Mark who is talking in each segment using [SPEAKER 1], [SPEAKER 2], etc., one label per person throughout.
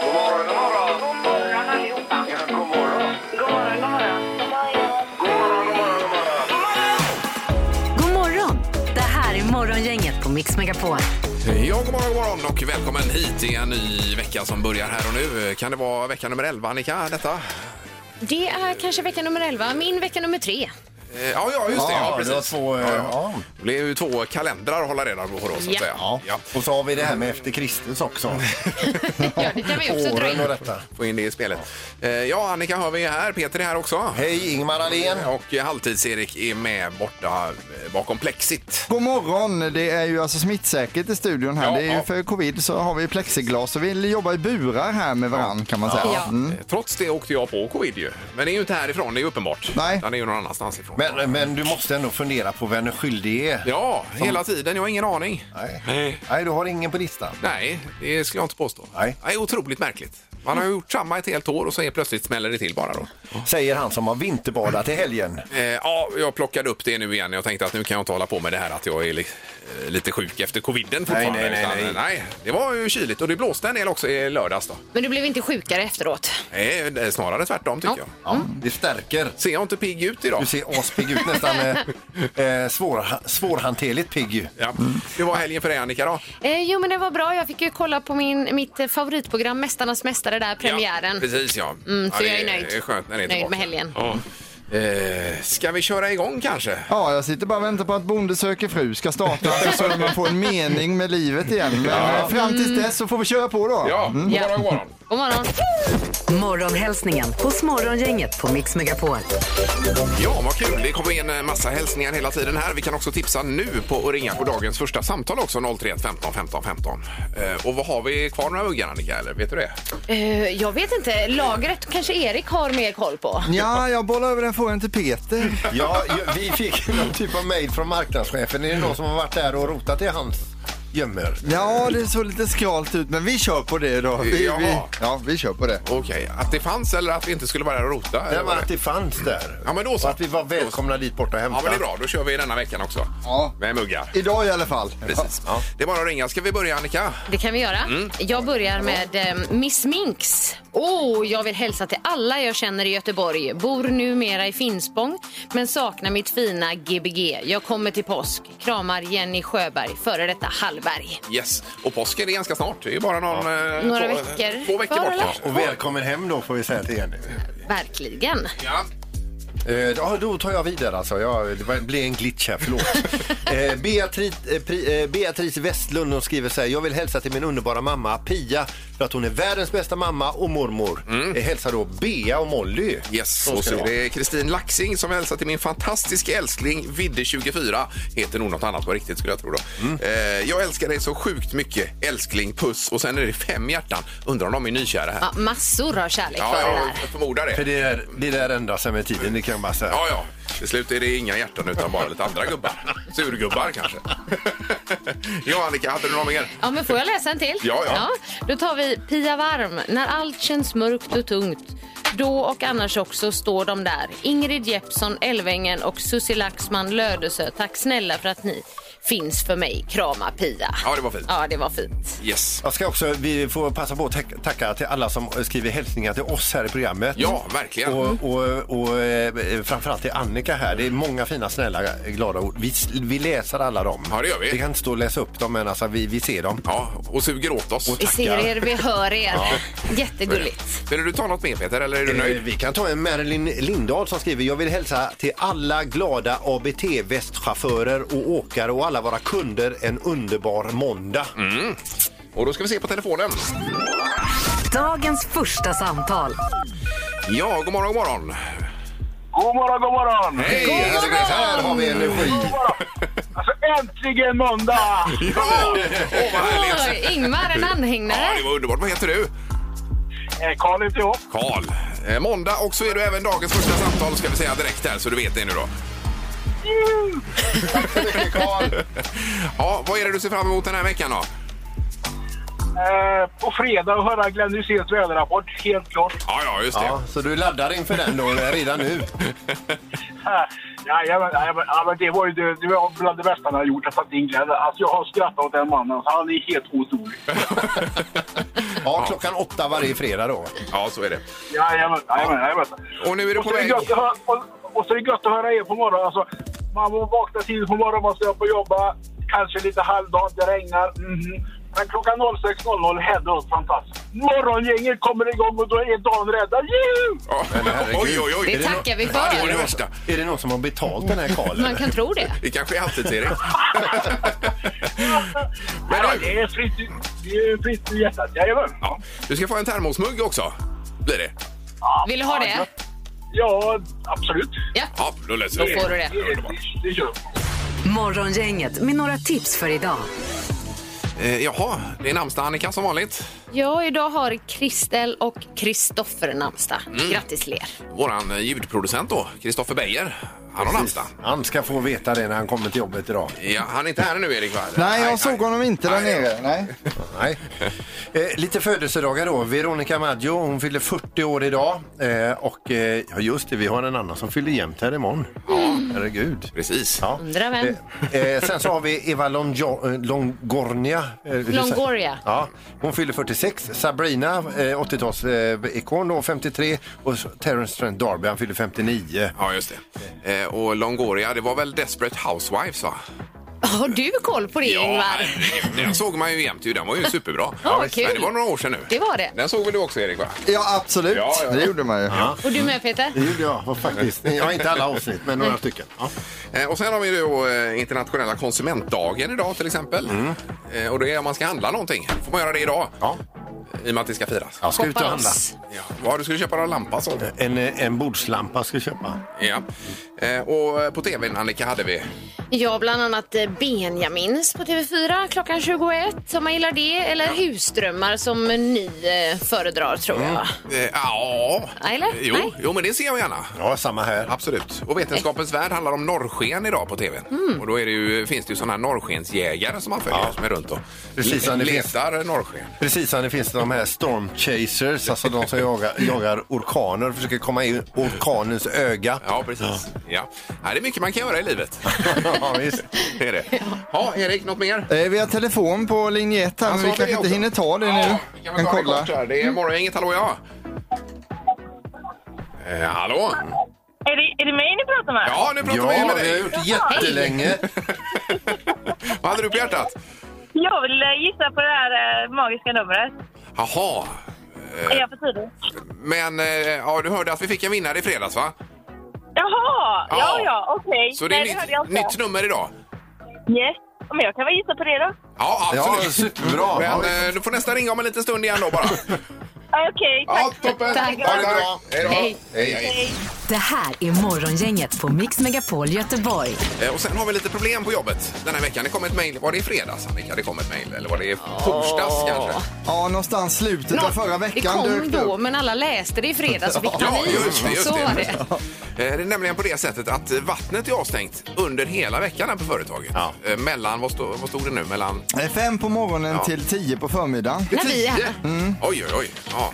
[SPEAKER 1] God morgon, god morgon. God morgon allihopa. Ja, god morgon. God morgon, god morgon. God morgon, god morgon, god morgon.
[SPEAKER 2] God morgon! Det här är Morgongänget på Mix Megapol.
[SPEAKER 3] Ja, god morgon, god morgon och välkommen hit till en ny vecka som börjar här och nu. Kan det vara vecka nummer 11, Annika? Detta?
[SPEAKER 4] Det är kanske vecka nummer 11, min vecka nummer 3.
[SPEAKER 3] Eh, Ja, ja, just det. Ja,
[SPEAKER 5] Ja, det var
[SPEAKER 3] precis.
[SPEAKER 5] två... eh, Ja.
[SPEAKER 3] Det blir ju två kalendrar att hålla reda på då, så att
[SPEAKER 4] Ja.
[SPEAKER 3] säga.
[SPEAKER 5] Ja.
[SPEAKER 3] Ja.
[SPEAKER 5] Och så har vi det här med efter Kristus också.
[SPEAKER 4] Ja, det kan vi också dra
[SPEAKER 5] Åren
[SPEAKER 4] in.
[SPEAKER 5] och detta.
[SPEAKER 3] Få in det i spelet. Eh, Ja, Annika hör vi här. Peter är här också.
[SPEAKER 5] Hej, Ingmar Ahlén.
[SPEAKER 3] Och eh, Halvtids-Erik är med borta eh, bakom plexit.
[SPEAKER 6] God morgon! Det är ju alltså smittsäkert i studion här.
[SPEAKER 3] Ja,
[SPEAKER 6] det är ju
[SPEAKER 3] ja.
[SPEAKER 6] för covid så har vi plexiglas och vi jobbar i burar här med varann kan man säga.
[SPEAKER 4] Ja.
[SPEAKER 6] Mm.
[SPEAKER 3] Eh, Trots det åkte jag på covid ju. Men det är ju inte härifrån, det är ju uppenbart.
[SPEAKER 6] Nej.
[SPEAKER 3] Utan det är ju någon annanstans ifrån.
[SPEAKER 5] Men, eh, men du måste ändå fundera på vem den skyldige är.
[SPEAKER 3] Ja, hela tiden. Jag har ingen aning.
[SPEAKER 5] Nej. Nej, du har ingen på listan.
[SPEAKER 3] Nej, det skulle jag inte påstå.
[SPEAKER 5] Nej.
[SPEAKER 3] Det är otroligt märkligt. Man har ju gjort samma ett helt år och så är plötsligt smäller det till bara då.
[SPEAKER 5] Säger han som har vinterbadat i helgen.
[SPEAKER 3] Eh, ja, jag plockade upp det nu igen. Jag tänkte att nu kan jag inte hålla på med det här att jag är li- eh, lite sjuk efter coviden fortfarande.
[SPEAKER 5] nej, nej,
[SPEAKER 3] Utan,
[SPEAKER 5] nej.
[SPEAKER 3] eh, nej. Det var ju kyligt och det blåste en del också i lördags då.
[SPEAKER 4] Men du blev inte sjukare efteråt.
[SPEAKER 3] Nej, det är snarare tvärtom tycker
[SPEAKER 4] Ja.
[SPEAKER 3] jag.
[SPEAKER 5] Ja, Det stärker.
[SPEAKER 3] Ser jag inte pigg ut idag?
[SPEAKER 5] Du ser aspigg ut, nästan eh, eh, svår, svårhanterligt pigg. ju.
[SPEAKER 3] Ja. Det var helgen för dig Annika då?
[SPEAKER 4] Eh, jo, men det var bra. Jag fick ju kolla på min, mitt eh, favoritprogram Mästarnas mästare där,
[SPEAKER 3] Ja,
[SPEAKER 4] premiären.
[SPEAKER 3] precis ja.
[SPEAKER 4] Mm, så
[SPEAKER 3] ja, det
[SPEAKER 4] jag är nöjd.
[SPEAKER 3] är skönt när det är
[SPEAKER 4] nöjd
[SPEAKER 3] tillbaka.
[SPEAKER 4] med helgen.
[SPEAKER 3] Eh, ska vi köra igång kanske?
[SPEAKER 6] Ja, jag sitter bara och väntar på att Bonde söker fru ska starta så att man får en mening med livet igen. Men eh, fram tills dess så får vi köra på då. Mm.
[SPEAKER 3] Ja, god
[SPEAKER 4] Ja.
[SPEAKER 3] morgon, god morgon.
[SPEAKER 4] God morgon.
[SPEAKER 2] Morgonhälsningen hos Morgongänget på Mix Megapol.
[SPEAKER 3] Ja, vad kul. Det kommer in en massa hälsningar hela tiden här. Vi kan också tipsa nu på att ringa på dagens första samtal också, 031 15 15 15. Eh, och vad har vi kvar några muggar, Annika? Eller vet du det?
[SPEAKER 4] Eh, jag vet inte, lagret kanske Erik har mer koll på.
[SPEAKER 6] Ja, jag bollar över den frågan till Peter.
[SPEAKER 5] Ja, ju- vi fick någon typ av mejl från marknadschefen. Är det någon som har varit där och rotat i hans gömmor?
[SPEAKER 6] Ja, det såg lite skralt ut, men vi kör på det då. Vi, vi,
[SPEAKER 3] Jaha.
[SPEAKER 6] ja, vi kör på det.
[SPEAKER 3] Okej, att det fanns eller att vi inte skulle vara där och rota?
[SPEAKER 5] Det
[SPEAKER 3] eller
[SPEAKER 5] var
[SPEAKER 3] vad det-
[SPEAKER 5] att det fanns där.
[SPEAKER 3] Ja, men då så.
[SPEAKER 5] Och att vi var välkomna dit borta
[SPEAKER 3] Ja,
[SPEAKER 5] och hämta.
[SPEAKER 3] men det är bra. Då kör vi denna veckan också.
[SPEAKER 6] Ja.
[SPEAKER 3] Med muggar.
[SPEAKER 6] Idag i alla fall.
[SPEAKER 3] Precis. Det är bara att ringa. Ska vi börja, Annika?
[SPEAKER 4] Det kan vi göra. Jag börjar med eh, Miss Minx. Oh, jag vill hälsa till alla jag känner i Göteborg. Bor numera i Finspång, men saknar mitt fina Gbg. Jag kommer till påsk. Kramar Jenny Sjöberg, före detta Hallberg.
[SPEAKER 3] Yes. Och påsken är ganska snart. Det är ju bara någon... eh,
[SPEAKER 4] Några
[SPEAKER 3] två,
[SPEAKER 4] veckor
[SPEAKER 3] Två veckor
[SPEAKER 4] kvar,
[SPEAKER 3] bort
[SPEAKER 4] eller?
[SPEAKER 3] kanske.
[SPEAKER 5] Och välkommen hem då får vi säga till Jenny.
[SPEAKER 4] Verkligen.
[SPEAKER 3] Ja.
[SPEAKER 5] Eh, ja, då tar jag vidare alltså. Jag, det var- det blev en glitch här, förlåt. eh, Beatrice, eh, Pri- eh, Beatrice Westlund hon skriver så här. Jag vill hälsa till min underbara mamma Pia för att hon är världens bästa mamma och mormor. Eh, hälsa då Bea och Molly.
[SPEAKER 3] Yes,
[SPEAKER 5] Så
[SPEAKER 3] och
[SPEAKER 5] ska
[SPEAKER 3] så
[SPEAKER 5] det
[SPEAKER 3] är
[SPEAKER 5] vara.
[SPEAKER 3] det Kristin Laxing som hälsar till min fantastiska älskling Vidde24. Heter nog något annat på riktigt skulle jag tro då. Eh, jag älskar dig så sjukt mycket älskling, puss och sen är det fem hjärtan. Undrar om de är nykära här?
[SPEAKER 4] Ja, massor av kärlek
[SPEAKER 3] Ja,
[SPEAKER 4] för det där.
[SPEAKER 3] jag förmodar
[SPEAKER 5] För
[SPEAKER 3] det.
[SPEAKER 5] det där, det där ändras sig med tiden, det kan jag bara säga.
[SPEAKER 3] Ja, ja. Till slut är det inga hjärtan utan bara lite andra gubbar. Surgubbar kanske. ja, Annika, hade du något mer?
[SPEAKER 4] Ja, men får jag läsa en till?
[SPEAKER 3] Ja, ja.
[SPEAKER 4] Då tar vi Pia Varm. När allt känns mörkt och tungt då och annars också står de där. Ingrid Jeppsson, Elvängen och Susie Laxman, Lödöse. Tack snälla för att ni finns för mig. Krama Pia.
[SPEAKER 3] Ja, det var fint.
[SPEAKER 4] Ja, det var fint.
[SPEAKER 3] Yes.
[SPEAKER 5] Jag ska också, vi får passa på att tack- tacka till alla som skriver hälsningar till oss här i programmet.
[SPEAKER 3] Ja, verkligen.
[SPEAKER 5] Och, och, och eh, framförallt till Annika här. Det är många fina, snälla, glada ord. Vi, vi läser alla dem.
[SPEAKER 3] Ja, det gör vi.
[SPEAKER 5] Vi kan inte stå och läsa upp dem, men alltså, vi, vi ser dem.
[SPEAKER 3] Ja, och suger åt oss.
[SPEAKER 4] Vi ser er, vi hör er. Jättegulligt.
[SPEAKER 3] Vill du ta något mer Peter eller är du
[SPEAKER 5] Eh,
[SPEAKER 3] nöjd?
[SPEAKER 5] Vi kan ta en Marilyn Lindahl som skriver Jag vill hälsa till alla glada ABT-västchaufförer och åkare och alla våra kunder en underbar måndag.
[SPEAKER 3] Mm. Och då ska vi se på telefonen.
[SPEAKER 2] Dagens första samtal.
[SPEAKER 3] Ja, god morgon, god morgon.
[SPEAKER 1] God morgon, god morgon.
[SPEAKER 3] Hej!
[SPEAKER 5] Här, här har vi energi.
[SPEAKER 1] God morgon. Alltså, äntligen
[SPEAKER 3] Ja,
[SPEAKER 1] måndag!
[SPEAKER 3] Åh, vad härligt!
[SPEAKER 4] Oj, Ingmar, en
[SPEAKER 3] Ja,
[SPEAKER 4] anhängare.
[SPEAKER 3] det var underbart. Vad heter du?
[SPEAKER 1] Eh, Karl inte ihop.
[SPEAKER 3] Karl. Eh, måndag och så är du även dagens första samtal ska vi säga direkt här så du vet det nu då. Ja, vad är det du ser fram emot den här veckan då?
[SPEAKER 1] Eh, på fredag och höra Glenn Hyséns väderrapport, helt klart.
[SPEAKER 3] Ja, ja, just det.
[SPEAKER 5] Ja, så du laddar inför den då redan nu?
[SPEAKER 1] Eh, jajamän, jajamän. Ja, men det var ju det, det var bland det bästa han har gjort, att han Glenn. Alltså, jag har skrattat åt den mannen, så han är helt otrolig.
[SPEAKER 5] Ja, Ja, klockan åtta varje fredag då.
[SPEAKER 3] Ja, så är det.
[SPEAKER 1] Jajamän, jajamän, jajamän.
[SPEAKER 3] Och nu är du
[SPEAKER 1] Och
[SPEAKER 3] på
[SPEAKER 1] så är det
[SPEAKER 3] väg.
[SPEAKER 1] gött att höra, och, och så är det gött att höra er på morgonen. Alltså, man må vakna tidigt på morgonen, man ska upp och jobba. Kanske lite halvdant, det regnar. Mhm. Men klockan 06.00 händer något fantastiskt. Morgongänget kommer igång och då är dagen räddad. Juhu!
[SPEAKER 3] Ja. Oj, oj, oj.
[SPEAKER 4] Det tackar vi
[SPEAKER 3] Ja, Det var det
[SPEAKER 4] för.
[SPEAKER 3] värsta.
[SPEAKER 5] Är det någon som har betalt den här
[SPEAKER 4] Man
[SPEAKER 5] karlen?
[SPEAKER 4] kan tro det.
[SPEAKER 3] Det kanske är alltid Erik.
[SPEAKER 1] Men ja,
[SPEAKER 3] Men
[SPEAKER 1] det
[SPEAKER 3] du,
[SPEAKER 1] är fritt, i- det är fritt i hjärtat. Jajamän.
[SPEAKER 3] ja, du ska få en termosmugg också. Blir det?
[SPEAKER 4] Vill du ha det?
[SPEAKER 1] Ja, absolut.
[SPEAKER 4] Ja,
[SPEAKER 3] Ja, då löser
[SPEAKER 4] då
[SPEAKER 3] vi
[SPEAKER 4] får du det.
[SPEAKER 1] Det, det, det kör vi.
[SPEAKER 2] Morgongänget med några tips för idag.
[SPEAKER 3] Eh, jaha, det är namnsdag Annika som vanligt.
[SPEAKER 4] Ja, idag har Kristel och Kristoffer namnsdag.
[SPEAKER 3] Mm.
[SPEAKER 4] Grattis till er.
[SPEAKER 3] Våran eh, ljudproducent då, Kristoffer Beijer. Han har namnsdag.
[SPEAKER 5] Han ska få veta det när han kommer till jobbet idag.
[SPEAKER 3] Ja, han är inte här nu Erik va?
[SPEAKER 6] Nej, jag såg honom inte där
[SPEAKER 3] Nej.
[SPEAKER 6] nere. Nej.
[SPEAKER 5] Nej. Eh, lite födelsedagar då. Veronica Maggio, hon fyller 40 år idag. Eh, och eh, ja, just det, vi har en annan som fyller jämnt här imorgon. Ja, herregud.
[SPEAKER 3] Precis.
[SPEAKER 5] Ja.
[SPEAKER 4] Undrar vem.
[SPEAKER 5] Eh, eh, sen så har vi Eva Longo- eh, Longornia. eh, hur säger-
[SPEAKER 4] Longoria.
[SPEAKER 5] Ja, hon fyller 46. Sabrina, eh, 80-talsikon, då, 53. Och så Terence Trent D'Arby, han fyller 59.
[SPEAKER 3] Ja, just det. Eh, och Longoria, det var väl Desperate Housewives va?
[SPEAKER 4] Har du koll på det, Ingvar?
[SPEAKER 3] herregud, den såg man ju jämt ju. Den var ju superbra.
[SPEAKER 4] Mm. Ja, vad kul.
[SPEAKER 3] Men det var några år sedan nu.
[SPEAKER 4] Det var det.
[SPEAKER 3] Den såg väl du också Erik va?
[SPEAKER 6] Ja, absolut.
[SPEAKER 3] Ja, ja, ja.
[SPEAKER 6] Det gjorde man ju.
[SPEAKER 4] Och du med, Peter?
[SPEAKER 3] Mm.
[SPEAKER 5] Det gjorde jag faktiskt. Ja, inte alla avsnitt, men några stycken. Ja.
[SPEAKER 3] Eh, Och sen har vi då eh, internationella konsumentdagen idag till exempel. Eh, Och det är om man ska handla någonting. Får man göra det idag?
[SPEAKER 5] Mm. Ja.
[SPEAKER 3] I och med att det ska firas.
[SPEAKER 5] Jag ska ut och
[SPEAKER 4] Shoppa
[SPEAKER 5] handla.
[SPEAKER 4] loss.
[SPEAKER 3] Ja. Vad du skulle köpa några lampa så.
[SPEAKER 5] En, eh, en bordslampa ska jag köpa.
[SPEAKER 3] Ja. Eh, Och eh, på tvn Annika hade vi.
[SPEAKER 4] Ja, bland annat eh, Benjamins på TV4 klockan 21, om man gillar det. Eller Husdrömmar som ni eh, föredrar, tror jag. va?
[SPEAKER 3] eh, Ja.
[SPEAKER 4] Eller?
[SPEAKER 3] Jo,
[SPEAKER 4] Nej.
[SPEAKER 3] jo, men det ser jag gärna.
[SPEAKER 5] Ja, samma här.
[SPEAKER 3] Absolut. Och Vetenskapens värld handlar om norrsken idag på tvn.
[SPEAKER 4] Mm.
[SPEAKER 3] Och då är det ju, finns det ju sådana här norrskensjägare som man följer som är runt och
[SPEAKER 5] Precis,
[SPEAKER 3] le-
[SPEAKER 5] det finns-
[SPEAKER 3] letar norrsken.
[SPEAKER 5] Precis som det finns de här storm chasers, alltså de som jagar, jagar orkaner och försöker komma in i orkanens öga.
[SPEAKER 3] Ja, precis. Ja. Nej, det är mycket man kan göra i livet.
[SPEAKER 5] Ja, visst.
[SPEAKER 3] det är det. Ja, Erik, något mer?
[SPEAKER 6] Eh, Vi har telefon på linje 1 här, men vi
[SPEAKER 3] sa
[SPEAKER 6] kanske
[SPEAKER 3] det
[SPEAKER 6] inte
[SPEAKER 3] också.
[SPEAKER 6] hinner ta det nu.
[SPEAKER 3] Ja, vi kan väl ta det kort här. Det är Morgongänget, hallå ja. Eh, hallå?
[SPEAKER 7] Är det, är det mig ni pratar med?
[SPEAKER 3] Ja, nu pratar
[SPEAKER 5] Ja,
[SPEAKER 3] vi
[SPEAKER 5] det
[SPEAKER 3] med
[SPEAKER 5] har jag
[SPEAKER 3] dig.
[SPEAKER 5] gjort jättelänge.
[SPEAKER 3] Vad hade du på hjärtat?
[SPEAKER 7] Jag vill eh, gissa på det här eh, magiska numret.
[SPEAKER 3] Jaha,
[SPEAKER 7] Är jag för tidig?
[SPEAKER 3] men eh, ja, du hörde att vi fick en vinnare i fredags va?
[SPEAKER 7] Jaha! Ja,
[SPEAKER 3] Ja.
[SPEAKER 7] ja, okej.
[SPEAKER 3] Så det
[SPEAKER 7] Nej,
[SPEAKER 3] är
[SPEAKER 7] det hörde jag
[SPEAKER 3] nytt,
[SPEAKER 7] inte.
[SPEAKER 3] nytt nummer idag.
[SPEAKER 7] Yes. Men jag kan väl gissa på det då?
[SPEAKER 3] Ja, absolut.
[SPEAKER 5] Ja, superbra.
[SPEAKER 3] Men
[SPEAKER 5] Ja,
[SPEAKER 3] eh, du får nästan ringa om en liten stund igen då bara.
[SPEAKER 7] Okej,
[SPEAKER 3] Ja,
[SPEAKER 7] tack.
[SPEAKER 3] toppen.
[SPEAKER 4] Tack.
[SPEAKER 3] Ha det bra. Hej då.
[SPEAKER 4] Hej.
[SPEAKER 3] Hej, hej.
[SPEAKER 2] Det här är Morgongänget på Mix Megapol Göteborg.
[SPEAKER 3] Eh, Och sen har vi lite problem på jobbet den här veckan. Det kom ett mejl. Var det i fredags, Annika? Det kom ett mejl. Eller var det i torsdags kanske?
[SPEAKER 6] Ja, någonstans slutet av förra
[SPEAKER 4] det
[SPEAKER 6] veckan
[SPEAKER 4] kom
[SPEAKER 6] dök det
[SPEAKER 4] då,
[SPEAKER 6] upp.
[SPEAKER 4] men alla läste det i fredags och fick
[SPEAKER 3] Ja,
[SPEAKER 4] panik.
[SPEAKER 3] just det. Just
[SPEAKER 4] Så var
[SPEAKER 3] det.
[SPEAKER 4] det.
[SPEAKER 3] Eh, Det är nämligen på det sättet att vattnet är avstängt under hela veckan här på företaget.
[SPEAKER 5] Ja.
[SPEAKER 3] Eh, Mellan, vad, stod, vad stod det nu? Mellan...
[SPEAKER 6] Eh, Fem på morgonen till tio på förmiddagen. Mm.
[SPEAKER 4] När vi är
[SPEAKER 3] Tio?
[SPEAKER 4] här.
[SPEAKER 3] Oj, oj, oj. Ja.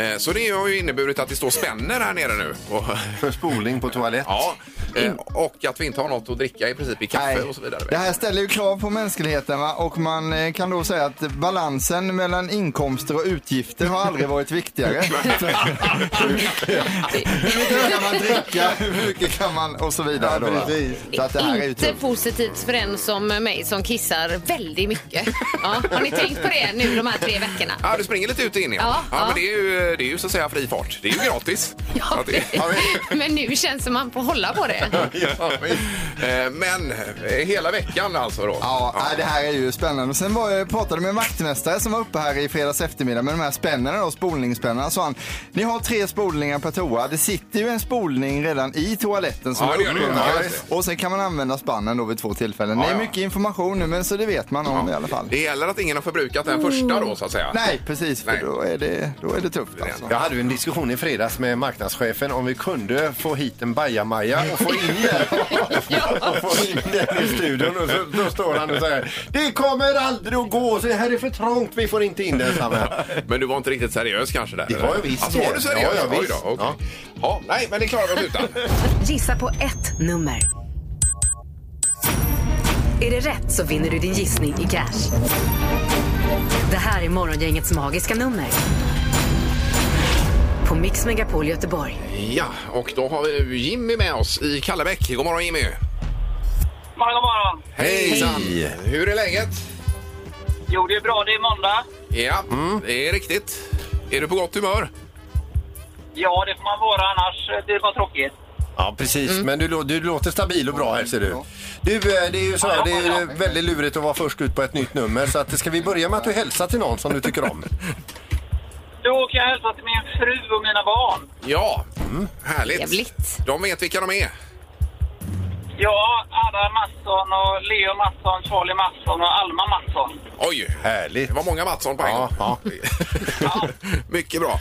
[SPEAKER 3] Eh, Så det har ju inneburit att det står spänner här nere nu. Och,
[SPEAKER 5] För spoling på toalett.
[SPEAKER 3] ja. Eh, Och att vi inte har något att dricka i princip i kaffe
[SPEAKER 6] Nej.
[SPEAKER 3] och så vidare.
[SPEAKER 6] Det här ställer ju krav på mänskligheten va? och man eh, kan då säga att balansen mellan inkomster och utgifter har aldrig varit viktigare. hur mycket kan man dricka, hur mycket kan man och så vidare. Då, va?
[SPEAKER 5] precis.
[SPEAKER 6] Så att det här är ju
[SPEAKER 4] Inte
[SPEAKER 6] tufft.
[SPEAKER 4] positivt för en som mig som kissar väldigt mycket. Ja, har ni tänkt på det nu de här tre veckorna?
[SPEAKER 3] Ja, du springer lite ut och in igen.
[SPEAKER 4] Ja, ja.
[SPEAKER 3] men det är, ju, det är ju så att säga fri fart. Det är ju gratis. Så att det-
[SPEAKER 4] Men nu känns det som man får hålla på det.
[SPEAKER 3] Eh, Men eh, hela veckan alltså då.
[SPEAKER 6] Ja, nej, det här är ju spännande. Sen var jag, pratade med en vaktmästare som var uppe här i fredags eftermiddag med de här spännena då, spolningsspännena. Sa han, ni har tre spolningar per toa. Det sitter ju en spolning redan i toaletten som
[SPEAKER 3] Ja,
[SPEAKER 6] är
[SPEAKER 3] det gör det ju.
[SPEAKER 6] uppbunden.
[SPEAKER 3] Ja, just
[SPEAKER 6] Och sen kan man använda spannen då vid två tillfällen.
[SPEAKER 3] Ja,
[SPEAKER 6] det är
[SPEAKER 3] ja.
[SPEAKER 6] mycket information nu, men så det vet man om i alla fall.
[SPEAKER 3] Det gäller att ingen har förbrukat den första då så att säga.
[SPEAKER 6] Nej, precis, för
[SPEAKER 3] Nej.
[SPEAKER 6] Då, är det, då är det tufft alltså.
[SPEAKER 5] Jag hade ju en diskussion i fredags med marknadschefen om vi kunde få hit en bajamaja och få in den, och få in den i studion. Och så, då står han och säger det kommer aldrig att gå, så det här är för trångt, vi får inte in den. sa han.
[SPEAKER 3] Men du var inte riktigt seriös kanske där?
[SPEAKER 5] Det var
[SPEAKER 3] eller?
[SPEAKER 5] jag visst.
[SPEAKER 3] Alltså, var du seriös?
[SPEAKER 5] Ja, ja,
[SPEAKER 3] Oj då,
[SPEAKER 5] visst.
[SPEAKER 3] okej.
[SPEAKER 5] Ja.
[SPEAKER 3] Ja, nej, men det klarar vi oss utan.
[SPEAKER 2] Gissa på ett nummer. Är det rätt så vinner du din gissning i cash. Det här är Morgongängets magiska nummer. På Mix Megapol Göteborg.
[SPEAKER 3] Ja, och då har vi nu Jimmy med oss i Kallebäck. God morgon Jimmy!
[SPEAKER 7] God morgon.
[SPEAKER 3] Hejsan!
[SPEAKER 5] Hej.
[SPEAKER 3] Hur är läget?
[SPEAKER 7] Jo, det är bra. Det är måndag.
[SPEAKER 3] Ja,
[SPEAKER 5] Mm.
[SPEAKER 3] det är riktigt. Är du på gott humör?
[SPEAKER 7] Ja, det får man vara. Annars eh, det var tråkigt.
[SPEAKER 5] Ja, precis.
[SPEAKER 6] Mm.
[SPEAKER 5] Men du, lå- du låter stabil och bra här ser du. Du, eh, det är ju så här, det är eh, väldigt lurigt att vara först ut på ett nytt nummer. Så att, ska vi börja med att du hälsar till någon som du tycker om?
[SPEAKER 7] Då kan jag hälsa till min fru och mina barn.
[SPEAKER 3] Ja,
[SPEAKER 5] Mm.
[SPEAKER 3] härligt.
[SPEAKER 4] Jävligt.
[SPEAKER 3] De vet vilka de är.
[SPEAKER 7] Ja, Adam Mattsson och Leo Mattsson, Charlie Mattsson och Alma Mattsson.
[SPEAKER 3] Oj,
[SPEAKER 5] Härligt.
[SPEAKER 3] det var många Mattsson på en
[SPEAKER 5] Ja,
[SPEAKER 3] gång.
[SPEAKER 5] ja.
[SPEAKER 3] Mycket bra.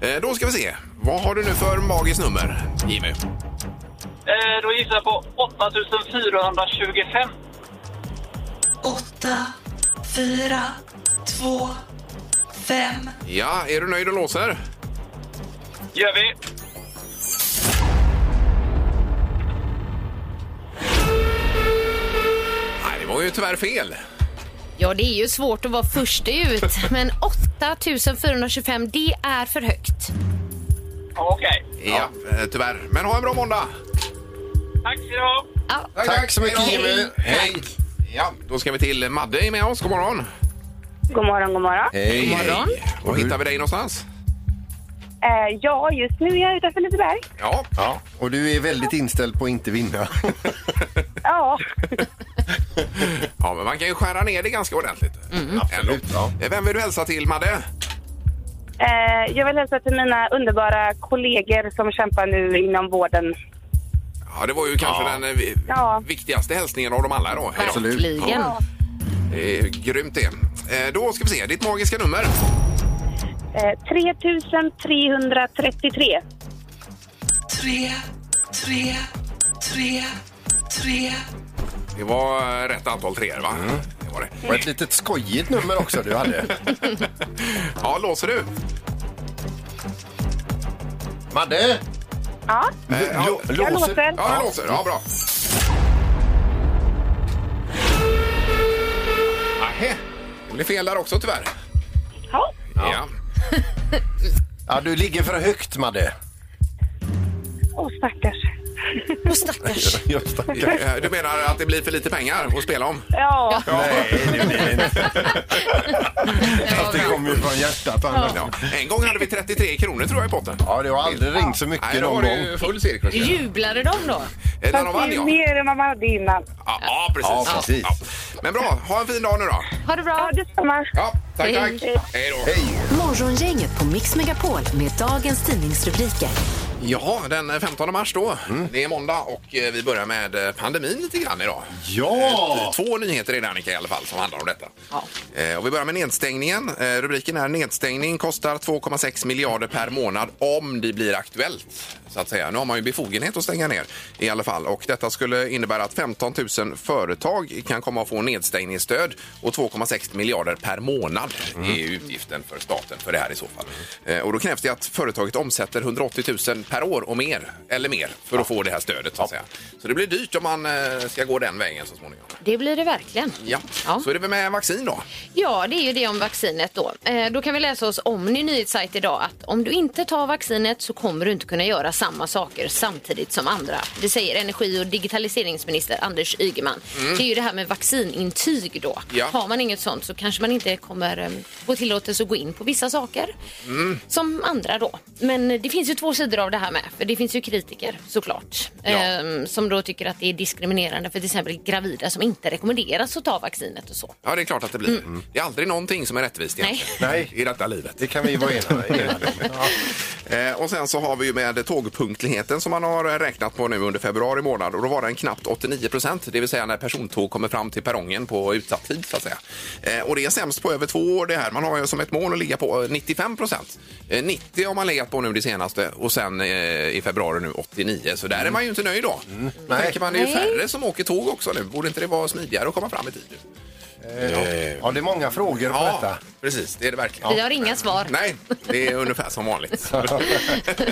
[SPEAKER 3] Eh, Då ska vi se. Vad har du nu för magiskt nummer, Jimmy?
[SPEAKER 7] Eh, då gissar jag på 8425.
[SPEAKER 8] åtta, fyra, två, fem.
[SPEAKER 3] Ja, är du nöjd och låser?
[SPEAKER 7] Gör vi.
[SPEAKER 3] Nej, det var ju tyvärr fel.
[SPEAKER 4] Ja, det är ju svårt att vara först ut, men 8425, det är för högt.
[SPEAKER 7] Ja, Okej.
[SPEAKER 3] Ja, eh, tyvärr. Men ha en bra måndag!
[SPEAKER 7] Tack ska du ha.
[SPEAKER 4] Ja,
[SPEAKER 5] Tack, så mycket
[SPEAKER 3] Hej då.
[SPEAKER 5] Jimmy.
[SPEAKER 3] Hej! Ja, då ska vi till Madde är med oss. God morgon!
[SPEAKER 9] God morgon, god morgon.
[SPEAKER 5] Hej.
[SPEAKER 4] God morgon.
[SPEAKER 3] Hej. Var hittar vi dig någonstans?
[SPEAKER 9] Eh, ja, just nu är jag utanför Liseberg.
[SPEAKER 3] Ja.
[SPEAKER 5] Ja, och du är väldigt inställd på att inte vinna.
[SPEAKER 9] Ja,
[SPEAKER 3] ja, men man kan ju skära ner det ganska ordentligt. Absolut.
[SPEAKER 5] Mm. ja.
[SPEAKER 3] Vem vill du hälsa till, Madde?
[SPEAKER 9] eh, jag vill hälsa till mina underbara kollegor som kämpar nu inom vården.
[SPEAKER 3] Ja, det var ju kanske den eh, vi-
[SPEAKER 9] Ja.
[SPEAKER 3] viktigaste hälsningen av dem alla då. Hej då.
[SPEAKER 4] verkligen.
[SPEAKER 9] Ja.
[SPEAKER 3] Det är grymt det. Eh, Då ska vi se, ditt magiska nummer.
[SPEAKER 9] Eh, 3333.
[SPEAKER 8] Tre, tre, tre, tre.
[SPEAKER 3] Det var eh, rätt antal treor, va? Det var det.
[SPEAKER 5] Och Mm. ett litet skojigt nummer också du hade.
[SPEAKER 3] Ja, låser du?
[SPEAKER 5] Madde!
[SPEAKER 9] Ja,
[SPEAKER 5] Lå-
[SPEAKER 9] jag
[SPEAKER 5] låser-
[SPEAKER 9] låter.
[SPEAKER 3] Ja, jag låser. Ja, bra. Nähä, det blev fel där också tyvärr.
[SPEAKER 9] Ja.
[SPEAKER 3] Ja.
[SPEAKER 5] Ja, du ligger för högt Madde.
[SPEAKER 9] Åh, stackars.
[SPEAKER 4] Och stackars.
[SPEAKER 5] Just det.
[SPEAKER 3] Eh, Du menar att det blir för lite pengar att spela om?
[SPEAKER 9] Ja,
[SPEAKER 5] Nej, det blir det inte. Fast det kommer ju från hjärtat. annars.
[SPEAKER 3] Ja. En gång hade vi 33 kronor tror jag i potten.
[SPEAKER 5] Ja, det har aldrig ringt så mycket
[SPEAKER 3] Nej, då
[SPEAKER 5] någon
[SPEAKER 3] var det
[SPEAKER 5] gång.
[SPEAKER 3] ju full cirkus. ju.
[SPEAKER 4] Jublade de då?
[SPEAKER 3] Eh, När de
[SPEAKER 9] fast
[SPEAKER 3] vann,
[SPEAKER 9] det är
[SPEAKER 3] ja.
[SPEAKER 9] mer än vad man hade innan.
[SPEAKER 3] Ja, ja, precis.
[SPEAKER 5] Ja, precis.
[SPEAKER 3] Men bra, ha en fin dag nu då.
[SPEAKER 4] Ha det
[SPEAKER 9] Ja,
[SPEAKER 4] bra.
[SPEAKER 9] detsamma.
[SPEAKER 3] Ja, tack,
[SPEAKER 4] Hej.
[SPEAKER 3] tack. Hej då.
[SPEAKER 2] Morgongänget på Mix Megapol med dagens tidningsrubriker.
[SPEAKER 3] Jaha, den 15 mars då. Det är måndag och eh, vi börjar med eh, pandemin lite grann idag. Eh,
[SPEAKER 5] Ja!
[SPEAKER 3] Två nyheter är det Annika i alla fall som handlar om detta. Eh, Och vi börjar med nedstängningen. Eh, Rubriken är nedstängning kostar 2,6 miljarder per månad om det blir aktuellt. Så att säga. Nu har man ju befogenhet att stänga ner i alla fall. Och detta skulle innebära att 15 000 företag kan komma att få nedstängningsstöd och 2,6 miljarder per månad är ju utgiften för staten för det här i så fall. Eh, Och då krävs det att företaget omsätter 180 000 per år och mer, eller mer, för att få det här stödet. Så, att säga. så det blir dyrt om man eh, ska gå den vägen så småningom.
[SPEAKER 4] Det blir det verkligen.
[SPEAKER 3] Ja.
[SPEAKER 4] Ja.
[SPEAKER 3] så är det väl med vaccin då.
[SPEAKER 4] Ja, det är ju det om vaccinet då. Eh, då kan vi läsa oss om ny nyhetssajt idag att om du inte tar vaccinet så kommer du inte kunna göra samma saker samtidigt som andra. Det säger energi och digitaliseringsminister Anders Ygeman. Det är ju det här med vaccinintyg då.
[SPEAKER 3] Mm. Ja.
[SPEAKER 4] Har man inget sånt så kanske man inte kommer eh, få tillåtelse att gå in på vissa saker
[SPEAKER 3] Mm.
[SPEAKER 4] som andra då. Men det finns ju två sidor av det här med. För det finns ju kritiker såklart
[SPEAKER 3] Ja.
[SPEAKER 4] eh, som då tycker att det är diskriminerande för till exempel gravida som inte rekommenderas att ta vaccinet och så.
[SPEAKER 3] Ja, det är klart att det blir. Mm. Det är aldrig någonting som är rättvist
[SPEAKER 4] Mm. Nej.
[SPEAKER 3] egentligen.
[SPEAKER 5] Nej.
[SPEAKER 3] i detta livet.
[SPEAKER 5] Det kan vi vara ena ena om.
[SPEAKER 3] Eh, och sen så har vi ju med tågpunktligheten som man har räknat på nu under februari månad och då var den knappt 89 procent, det vill säga när persontåg kommer fram till perrongen på utsatt tid så att säga. Eh, och det är sämst på över två år det här. Man har ju som ett mål att ligga på eh, 95 procent. Eh, 90 har man legat på nu det senaste och sen eh, i februari nu 89, så
[SPEAKER 5] Mm.
[SPEAKER 3] där är man ju inte nöjd då. Då
[SPEAKER 5] Nej.
[SPEAKER 3] tänker man, det är
[SPEAKER 4] Nej.
[SPEAKER 3] ju färre som åker tåg också nu. Borde inte det vara smidigare att komma fram i tid? nu?
[SPEAKER 5] Ja, det är många frågor på detta.
[SPEAKER 3] för precis. Det är det verkligen.
[SPEAKER 4] Vi har inga svar.
[SPEAKER 3] Nej, det är ungefär som vanligt.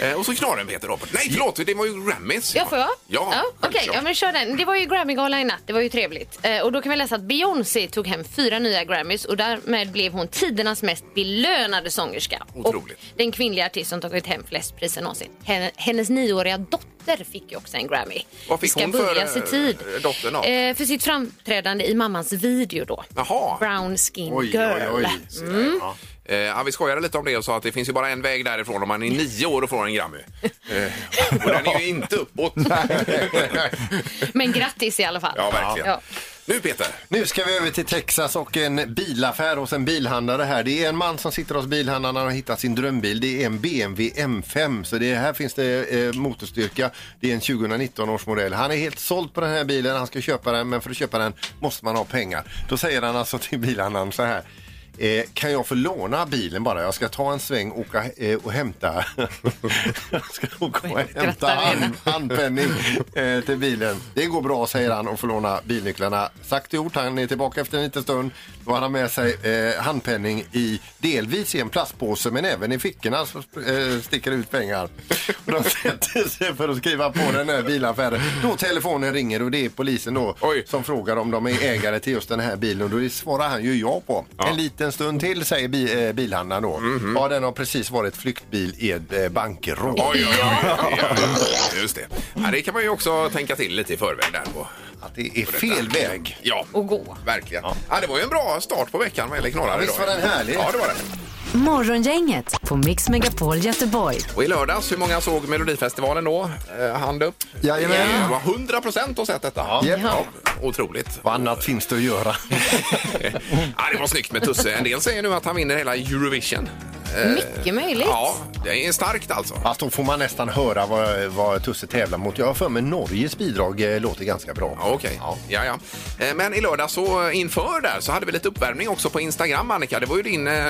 [SPEAKER 3] Eh, och så knaren Peter Robert. Nej, förlåt, det var ju Grammys.
[SPEAKER 4] Ja, får jag?
[SPEAKER 3] Ja,
[SPEAKER 4] Okej,
[SPEAKER 3] självklart.
[SPEAKER 4] ja, men kör den. Det var ju Grammygala i natt. Det var ju trevligt. Eh, och då kan vi läsa att Beyoncé tog hem fyra nya Grammys och därmed blev hon tidernas mest belönade sångerska.
[SPEAKER 3] Otroligt.
[SPEAKER 4] Och den kvinnliga artist som tagit hem flest priser någonsin. Hen- Hennes nioåriga dotter fick ju också en Grammy.
[SPEAKER 3] Vad fick
[SPEAKER 4] Vi ska
[SPEAKER 3] hon för,
[SPEAKER 4] börja i
[SPEAKER 3] eh,
[SPEAKER 4] tid.
[SPEAKER 3] dottern av?
[SPEAKER 4] Eh, för sitt framträdande i mammans video då.
[SPEAKER 3] Jaha.
[SPEAKER 4] Brown Skin
[SPEAKER 5] Oj,
[SPEAKER 4] Girl. Mm.
[SPEAKER 5] oj, oj.
[SPEAKER 3] Eh, ja, vi skojade lite om det och sa att det finns ju bara en väg därifrån om man är nio år och får en Grammy. Eh, och den är ju inte uppåt.
[SPEAKER 4] Men grattis i alla fall.
[SPEAKER 3] ja, verkligen.
[SPEAKER 4] Ja.
[SPEAKER 3] Nu Peter,
[SPEAKER 5] Nu ska vi över till Texas och en bilaffär hos en bilhandlare här. Det är en man som sitter hos bilhandlaren och har hittat sin drömbil. Det är en BMW M5, så det här finns det eh, motorstyrka. Det är en 2019 års modell. Han är helt såld på den här bilen, han ska köpa den, men för att köpa den måste man ha pengar. Då säger han alltså till bilhandlaren så här. Eh, kan jag få låna bilen bara? Jag ska ta en sväng och åka eh, och hämta. jag ska åka och hämta
[SPEAKER 4] Skrattar redan.
[SPEAKER 5] hand, handpenning eh, till bilen. Det går bra, säger han och får låna bilnycklarna. Sagt och gjort, han är tillbaka efter en liten stund. Då har han med sig eh, handpenning i delvis i en plastpåse men även i fickorna så eh, sticker det ut pengar. Och de sätter sig för att skriva på den här bilaffären. Då telefonen ringer och det är polisen då
[SPEAKER 3] Oj.
[SPEAKER 5] som frågar om de är ägare till just den här bilen och då svarar han ju ja på. En liten stund till säger bi, eh, bilhandlaren då. Ja, den har precis varit flyktbil i ett eh, bankrån.
[SPEAKER 3] Mhm. Oj, oj, oj. Ja, Just det. Ja, det kan man ju också tänka till lite i förväg där på.
[SPEAKER 5] Att det är fel väg.
[SPEAKER 3] Ja,
[SPEAKER 4] Och gå.
[SPEAKER 3] verkligen. Ja. det var ju en bra start på veckan vad gäller knorrar
[SPEAKER 5] visst
[SPEAKER 3] idag.
[SPEAKER 5] var den härlig.
[SPEAKER 3] Ja, det var den.
[SPEAKER 2] Morgongänget på Mix Megapol Göteborg.
[SPEAKER 3] Och i lördags, hur många såg Melodifestivalen då? Eh, hand upp.
[SPEAKER 6] Jajamän.
[SPEAKER 3] Det var 100 procent har sett detta.
[SPEAKER 6] Japp.
[SPEAKER 3] Otroligt.
[SPEAKER 5] Vad annat finns det att göra?
[SPEAKER 3] ja, det var snyggt med Tusse. En del säger nu att han vinner hela Eurovision.
[SPEAKER 4] Mycket möjligt.
[SPEAKER 3] Ja, det är starkt alltså.
[SPEAKER 5] Fast då får man nästan höra vad, vad Tusse tävlar mot. Jag har för mig Norges bidrag eh, låter ganska bra.
[SPEAKER 3] Ja, Okej. Ja. Ja, Eh, Men i lördag så eh, inför där så hade vi lite uppvärmning också på Instagram, Annika. Det var ju din, eh,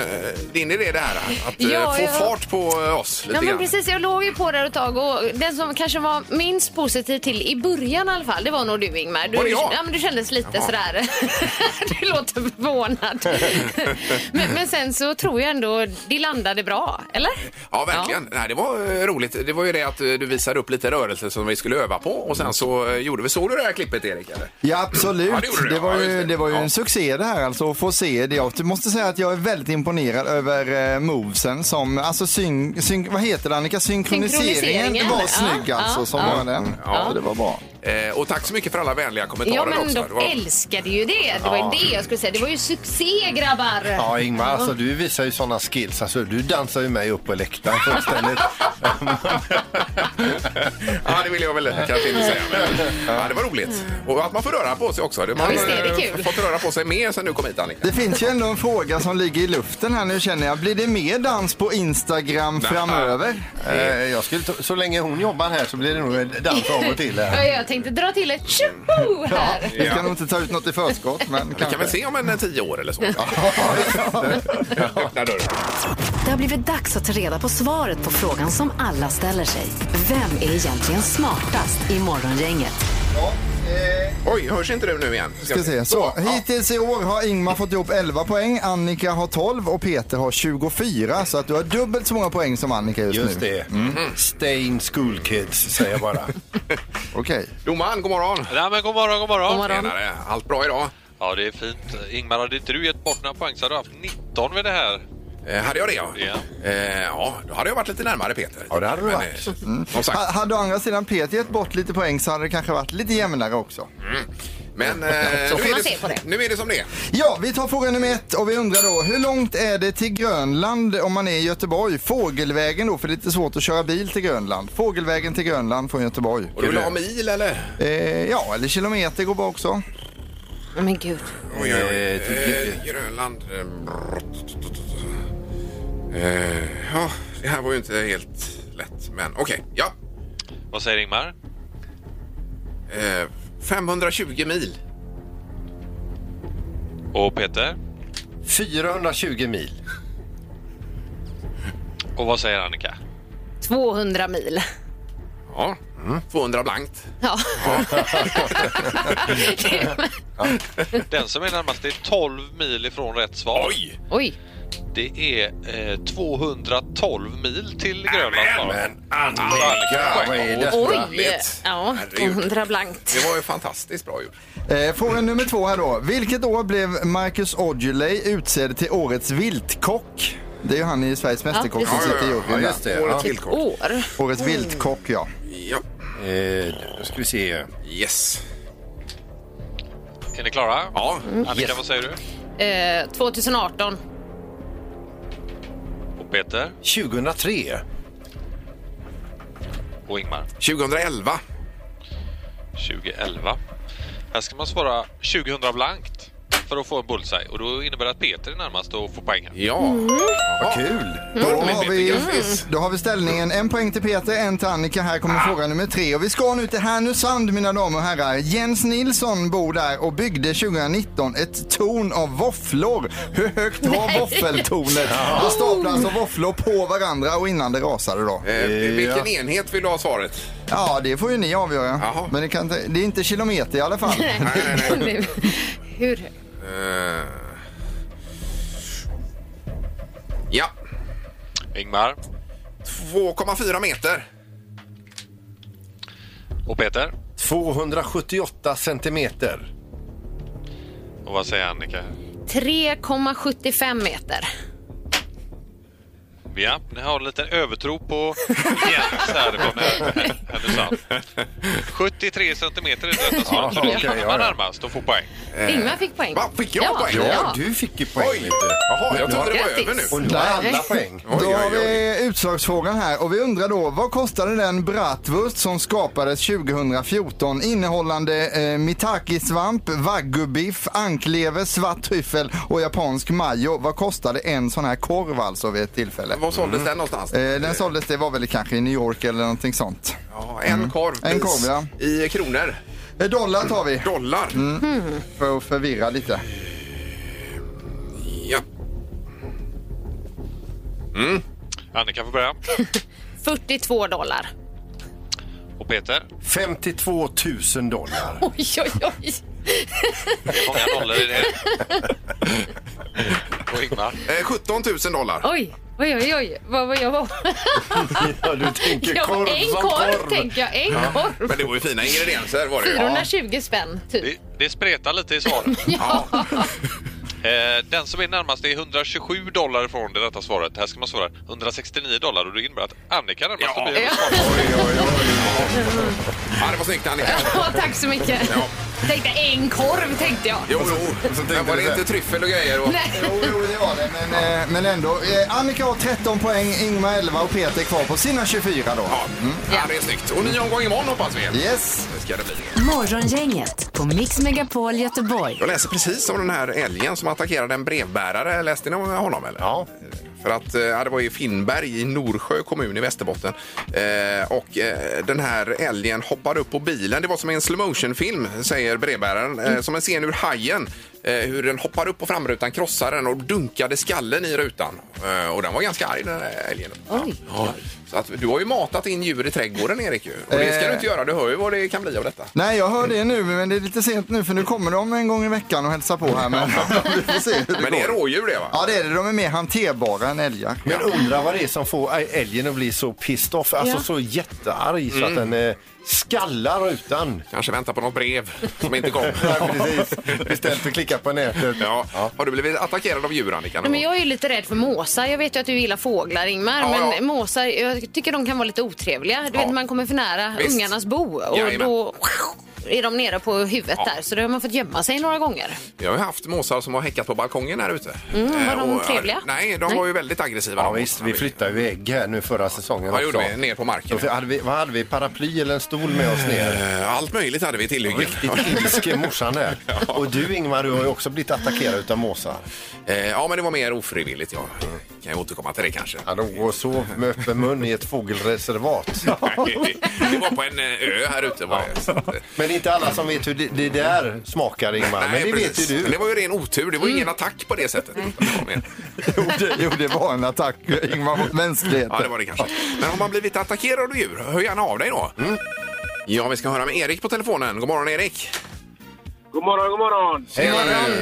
[SPEAKER 3] din idé det här. Att eh,
[SPEAKER 4] Ja,
[SPEAKER 3] få
[SPEAKER 4] ja.
[SPEAKER 3] fart på eh, oss lite
[SPEAKER 4] Ja, men
[SPEAKER 3] grann.
[SPEAKER 4] precis, jag låg ju på där ett tag och den som kanske var minst positiv till i början i alla fall, det var nog du Ingmar. Du,
[SPEAKER 3] Var det jag?
[SPEAKER 4] ja, men du kändes lite
[SPEAKER 3] Jaha.
[SPEAKER 4] sådär, du låter förvånad. men, men sen så tror jag ändå det landade bra, eller?
[SPEAKER 3] Ja, verkligen. Nej, det var eh, roligt. Det var ju det att eh, du visade upp lite rörelser som vi skulle öva på och sen så eh, gjorde vi... Såg du det här klippet, Erik? Eller?
[SPEAKER 6] Ja, absolut.
[SPEAKER 3] Ja, det gjorde
[SPEAKER 6] det,
[SPEAKER 3] det.
[SPEAKER 6] var
[SPEAKER 3] Ja, just
[SPEAKER 6] ju,
[SPEAKER 3] det.
[SPEAKER 6] det var ju
[SPEAKER 3] Ja.
[SPEAKER 6] en succé det här alltså att få se det. Jag måste säga att jag är väldigt imponerad över eh, movesen som, alltså syn, syn, vad heter det Annika? Synkroniseringen,
[SPEAKER 4] Synkroniseringen.
[SPEAKER 6] var
[SPEAKER 4] Ja,
[SPEAKER 6] snygg
[SPEAKER 4] ja,
[SPEAKER 6] alltså som
[SPEAKER 4] ja.
[SPEAKER 6] var den.
[SPEAKER 3] Ja.
[SPEAKER 6] Så det var bra.
[SPEAKER 3] Eh, och tack så mycket för alla vänliga kommentarer
[SPEAKER 4] Ja, men
[SPEAKER 3] också.
[SPEAKER 4] de
[SPEAKER 3] Det var-
[SPEAKER 4] älskade ju det. Det var ju det jag skulle säga. Det var ju succé, grabbar!
[SPEAKER 5] Ja, Ingmar, alltså, du visar ju sådana skills. Alltså, du dansar ju mig upp på läktaren fullständigt.
[SPEAKER 3] ja, det vill jag väl kanske inte säga. Men, ja, det var roligt. Och att man får röra på sig också. Det- Man
[SPEAKER 4] visst är det
[SPEAKER 3] har, eh,
[SPEAKER 4] kul.
[SPEAKER 3] fått röra på sig mer sen du kom hit, Annika.
[SPEAKER 6] Det finns ju ändå en fråga som ligger i luften här nu känner jag. Blir det mer dans på Instagram framöver?
[SPEAKER 5] Eh, jag skulle ta- så länge hon jobbar här så blir det nog en dans av och till.
[SPEAKER 4] Ja,
[SPEAKER 5] Här.
[SPEAKER 4] jag tänkte dra till ett tjoho här.
[SPEAKER 6] Vi ska nog inte ta ut något i förskott men
[SPEAKER 3] Vi kan väl
[SPEAKER 6] kanske.
[SPEAKER 3] se om en eh, tio år eller så. Öppna dörren.
[SPEAKER 2] Det har blivit dags att ta reda på svaret på frågan som alla ställer sig. Vem är egentligen smartast i Morgongänget?
[SPEAKER 3] Oj, hörs inte du nu igen?
[SPEAKER 6] Eh. Ska se. Så, hittills i år har Ingmar fått ihop 11 poäng, Annika har 12 och Peter har 24. Så att du har dubbelt så många poäng som Annika just,
[SPEAKER 5] Just
[SPEAKER 6] nu.
[SPEAKER 5] det.
[SPEAKER 3] Mm.
[SPEAKER 5] Stay in school kids, säger jag bara.
[SPEAKER 6] Okej.
[SPEAKER 3] Domaren, god morgon!
[SPEAKER 7] Nej, men god morgon, god morgon.
[SPEAKER 4] God morgon.
[SPEAKER 3] Tjenare, allt bra idag?
[SPEAKER 7] Ja, det är fint. Ingmar, hade inte du gett bort några poäng så hade du haft 19 vid det här.
[SPEAKER 3] Eh, hade jag det ja?
[SPEAKER 7] Ja.
[SPEAKER 3] Eh, ja, då hade jag varit lite närmare Peter.
[SPEAKER 5] Ja, det hade du varit.
[SPEAKER 3] eh, Som sagt,
[SPEAKER 6] Mm. Ha- Hade å andra sidan Peter gett bort lite poäng så hade det kanske varit lite jämnare också.
[SPEAKER 3] mm. men eh, nu,
[SPEAKER 4] man
[SPEAKER 3] är
[SPEAKER 4] se på det.
[SPEAKER 3] nu är det som det är.
[SPEAKER 6] Ja, vi tar fråga nummer ett och vi undrar då hur långt är det till Grönland om man är i Göteborg? Fågelvägen då, för det är lite svårt att köra bil till Grönland. Fågelvägen till Grönland från Göteborg.
[SPEAKER 3] Och du vill ha mil eller?
[SPEAKER 6] Eh, ja, eller kilometer går bra också.
[SPEAKER 4] Men gud.
[SPEAKER 3] Oj, oj, oj. Eh, Grönland. eh, brrrt. Eh, Ja, det här var ju inte helt lätt, men okej. Ja.
[SPEAKER 7] Vad säger Ingmar?
[SPEAKER 3] Eh, 520 mil.
[SPEAKER 7] Och Peter?
[SPEAKER 5] 420 mil.
[SPEAKER 7] Och vad säger Annika?
[SPEAKER 4] 200 mil.
[SPEAKER 3] Ja. 200 blankt.
[SPEAKER 4] Ja.
[SPEAKER 10] Den som är närmast är 12 mil ifrån rätt svar.
[SPEAKER 3] Oj!
[SPEAKER 4] Oj.
[SPEAKER 10] Det är eh, 212 mil till Grönland. bara.
[SPEAKER 5] Men Annika, vad är detta?
[SPEAKER 4] Oj!
[SPEAKER 3] härligt.
[SPEAKER 4] Ja,
[SPEAKER 3] Herregud.
[SPEAKER 4] 200 blankt.
[SPEAKER 3] Det var ju fantastiskt bra gjort.
[SPEAKER 6] Eh, Fråga nummer två här då. Vilket år blev Marcus Aujalay utsedd till årets viltkock? Det är ju han i Sveriges Mästerkock som
[SPEAKER 4] precis.
[SPEAKER 6] sitter i
[SPEAKER 5] Ja,
[SPEAKER 6] juryn. där.
[SPEAKER 5] just det. Ja.
[SPEAKER 3] Årets villkor.
[SPEAKER 4] År.
[SPEAKER 6] Årets viltkock, ja.
[SPEAKER 3] Ja.
[SPEAKER 5] Eh, då ska vi se.
[SPEAKER 3] Yes.
[SPEAKER 10] Är ni klara?
[SPEAKER 3] Ja.
[SPEAKER 10] Annika,
[SPEAKER 5] Yes.
[SPEAKER 10] vad säger du?
[SPEAKER 4] Eh, 2018.
[SPEAKER 10] Och Peter
[SPEAKER 5] 2003.
[SPEAKER 10] och Ingmar.
[SPEAKER 3] 2011.
[SPEAKER 10] 2011. Här ska man svara 2000 blankt för att få en bullseye och då innebär det att Peter är närmast och får poäng. här.
[SPEAKER 3] Ja.
[SPEAKER 5] Mm. Vad kul!
[SPEAKER 6] Mm. Då har,
[SPEAKER 3] Peter,
[SPEAKER 6] vi, Mm.
[SPEAKER 3] grattis.
[SPEAKER 6] då har vi ställningen en poäng till Peter, en till Annika. Här
[SPEAKER 3] Ah.
[SPEAKER 6] kommer fråga nummer tre. Och vi ska nu till Härnösand mina damer och herrar. Jens Nilsson bor där och byggde 2019 ett torn av våfflor. Hur högt var våffeltornet? Då staplade alltså våfflor på varandra och innan det rasade då.
[SPEAKER 3] Eh, vilken enhet vill du ha svaret?
[SPEAKER 6] Ja, det får ju ni avgöra.
[SPEAKER 3] Jaha.
[SPEAKER 6] Men det, kan, inte- det är inte kilometer i alla fall.
[SPEAKER 3] Nej, nej, nej.
[SPEAKER 4] Hur?
[SPEAKER 3] Eh. Ja.
[SPEAKER 10] Ingmar
[SPEAKER 3] 2,4 meter.
[SPEAKER 10] och Peter.
[SPEAKER 5] 278 centimeter.
[SPEAKER 10] Och vad säger Annika?
[SPEAKER 4] 3,75 meter.
[SPEAKER 10] Ja, ni har en liten övertro på Jens härifrån här- Härnösand. 73 centimeter är det rätta svaret. Så det
[SPEAKER 5] Ja, okej,
[SPEAKER 10] är
[SPEAKER 5] ja, ja.
[SPEAKER 10] man närmast och får poäng.
[SPEAKER 4] Ingmar fick poäng.
[SPEAKER 3] Va, fick jag
[SPEAKER 4] ja,
[SPEAKER 3] poäng?
[SPEAKER 4] Ja.
[SPEAKER 5] Ja, du fick ju poäng
[SPEAKER 3] Oj.
[SPEAKER 5] lite.
[SPEAKER 3] Jaha, jag
[SPEAKER 5] Nu har-
[SPEAKER 3] trodde det var
[SPEAKER 4] Grattis.
[SPEAKER 3] över nu.
[SPEAKER 5] Och nu har alla poäng.
[SPEAKER 3] Oj,
[SPEAKER 6] Då
[SPEAKER 3] oj,
[SPEAKER 6] har
[SPEAKER 3] oj.
[SPEAKER 6] vi utslagsfrågan här och vi undrar då vad kostade den bratwurst som skapades 2014 innehållande eh, mitaki-svamp, wagyu-biff, anklever, svart tryffel och japansk majo. Vad kostade en sån här korv alltså vid ett tillfälle?
[SPEAKER 3] Var såldes den någonstans?
[SPEAKER 6] Eh, den såldes, det var väl kanske i New York eller någonting sånt.
[SPEAKER 3] Ja, en korv.
[SPEAKER 6] Mm. En korv, ja.
[SPEAKER 3] I kronor.
[SPEAKER 6] Eh, dollar tar vi Mm.
[SPEAKER 3] Dollar.
[SPEAKER 6] för att förvirra lite.
[SPEAKER 3] Ja. Mm.
[SPEAKER 10] Annika får börja.
[SPEAKER 4] 42 dollar.
[SPEAKER 10] Och Peter.
[SPEAKER 5] 52 000 dollar.
[SPEAKER 4] Oj, oj, oj.
[SPEAKER 10] Det är många nollor i det. Och Ingmar.
[SPEAKER 3] Eh, 17 000 dollar.
[SPEAKER 4] Oj, oj, oj, oj. Vad var jag var?
[SPEAKER 5] Ja, du tänker
[SPEAKER 4] Ja,
[SPEAKER 5] korv
[SPEAKER 4] en
[SPEAKER 5] som
[SPEAKER 4] korv,
[SPEAKER 5] korv.
[SPEAKER 4] tänker jag. En korv.
[SPEAKER 3] Men det var ju fina ingredienser var det ju.
[SPEAKER 4] 420 spänn, typ.
[SPEAKER 10] Det, det spretar lite i svaren.
[SPEAKER 4] Ja.
[SPEAKER 10] Eh, den som är närmast är 127 dollar ifrån det rätta svaret. Här ska man svara 169 dollar och det innebär att Annika är närmast.
[SPEAKER 3] Ja.
[SPEAKER 10] Det blir-
[SPEAKER 3] Ja, det var snyggt Annika.
[SPEAKER 4] Ja, tack så mycket.
[SPEAKER 3] Ja.
[SPEAKER 4] Tänkte en korv, tänkte jag.
[SPEAKER 3] Jo, jo. Men var det inte tryffel och grejer? Och...
[SPEAKER 4] Nej.
[SPEAKER 6] Jo, jo, det var det, men, eh, men ändå. Eh, Annika har 13 poäng, Ingmar 11 och Peter kvar på sina 24 då. Mm.
[SPEAKER 3] Ja. ja, det är snyggt. Och ny omgång imorgon hoppas vi.
[SPEAKER 6] Yes.
[SPEAKER 3] Det ska det bli.
[SPEAKER 2] Morgongänget på Mix Megapol Göteborg.
[SPEAKER 3] Jag läser precis om den här älgen som attackerade en brevbärare. Läste ni om honom? Eller?
[SPEAKER 5] Ja.
[SPEAKER 3] För att eh, ja, det var i Finnberg i Norsjö kommun i Västerbotten. Eh, och eh, den här älgen hoppade upp på bilen. Det var som en slow motion film säger brevbäraren.
[SPEAKER 6] Mm.
[SPEAKER 3] Eh, som en scen ur Hajen. Eh, hur den hoppar upp på framrutan, krossar den och dunkade skallen i rutan. Eh, och den var ganska arg den här älgen.
[SPEAKER 4] Oj.
[SPEAKER 3] Ja. Så att, du har ju matat in djur i trädgården Erik. ju. Och det ska
[SPEAKER 6] Eh.
[SPEAKER 3] du inte göra. Du hör ju vad det kan bli av detta.
[SPEAKER 6] Nej, jag hör det nu, men det är lite sent nu för nu kommer de en gång i veckan och hälsar på här. Men vi får se hur det
[SPEAKER 3] Men det är
[SPEAKER 6] går.
[SPEAKER 3] rådjur det va?
[SPEAKER 6] Ja, det är det. De är mer hanterbara än älgar.
[SPEAKER 5] Men undra vad det är som får älgen att bli så pissed off, alltså så jättearg så att den eh, skallar utan.
[SPEAKER 3] Mm. Kanske vänta på något brev som inte kom.
[SPEAKER 5] Beställt för klicka på nätet.
[SPEAKER 3] Ja. Har du blivit attackerad av djur, Annika? någon
[SPEAKER 4] Nej, men
[SPEAKER 3] gång?
[SPEAKER 4] jag är ju lite rädd för måsar. Jag vet ju att du gillar fåglar, Ingmar.
[SPEAKER 3] Ja,
[SPEAKER 4] men
[SPEAKER 3] ja.
[SPEAKER 4] måsar, jag tycker de kan vara lite otrevliga. Du
[SPEAKER 3] Ja.
[SPEAKER 4] vet, man kommer för nära
[SPEAKER 3] Visst.
[SPEAKER 4] ungarnas bo och
[SPEAKER 3] Jajamän.
[SPEAKER 4] då är de nere på huvudet där. Så då har man fått gömma sig några gånger.
[SPEAKER 3] Jag har ju haft måsar som har häckat på balkongen här ute.
[SPEAKER 4] var Mm, de
[SPEAKER 3] Eh,
[SPEAKER 4] trevliga?
[SPEAKER 3] Nej, de var ju väldigt aggressiva.
[SPEAKER 5] Ja
[SPEAKER 3] de
[SPEAKER 5] visst,
[SPEAKER 3] måsarna.
[SPEAKER 5] vi flyttade ju ägg här nu förra säsongen
[SPEAKER 3] Vad gjorde
[SPEAKER 5] också.
[SPEAKER 3] vi? Ner på marken?
[SPEAKER 5] Då hade vi, vad hade vi? Paraply eller en stol med oss ner?
[SPEAKER 3] Eh, Allt möjligt hade vi i tillhyggen.
[SPEAKER 5] Riktigt ilske morsan där. Och du Ingmar, du har ju också blivit attackerad utav måsar.
[SPEAKER 3] Eh, ja, men det var mer ofrivilligt. Ja. Kan jag återkomma till det kanske?
[SPEAKER 5] Mm. Ja, de går och sov med öppen mun i ett fågelreservat.
[SPEAKER 3] Nej, det var på en eh, ö här ute. Var det. Så att, eh,
[SPEAKER 5] Men det är inte alla som vet hur det, det där smakar Ingmar. Men det
[SPEAKER 3] precis.
[SPEAKER 5] vet ju
[SPEAKER 3] Det
[SPEAKER 5] du. Mm.
[SPEAKER 3] var ju ren otur. Det var ju ingen attack på det sättet.
[SPEAKER 6] Jo, det, jo, det var en attack, Ingmar, mot
[SPEAKER 3] Ja, det
[SPEAKER 6] mänskligheten. Mm.
[SPEAKER 3] var det kanske. Men har man blivit attackerad av djur, hör gärna av dig då. Ja, vi ska höra med Erik på telefonen. God morgon Erik!
[SPEAKER 11] God morgon, god morgon!
[SPEAKER 5] Hej,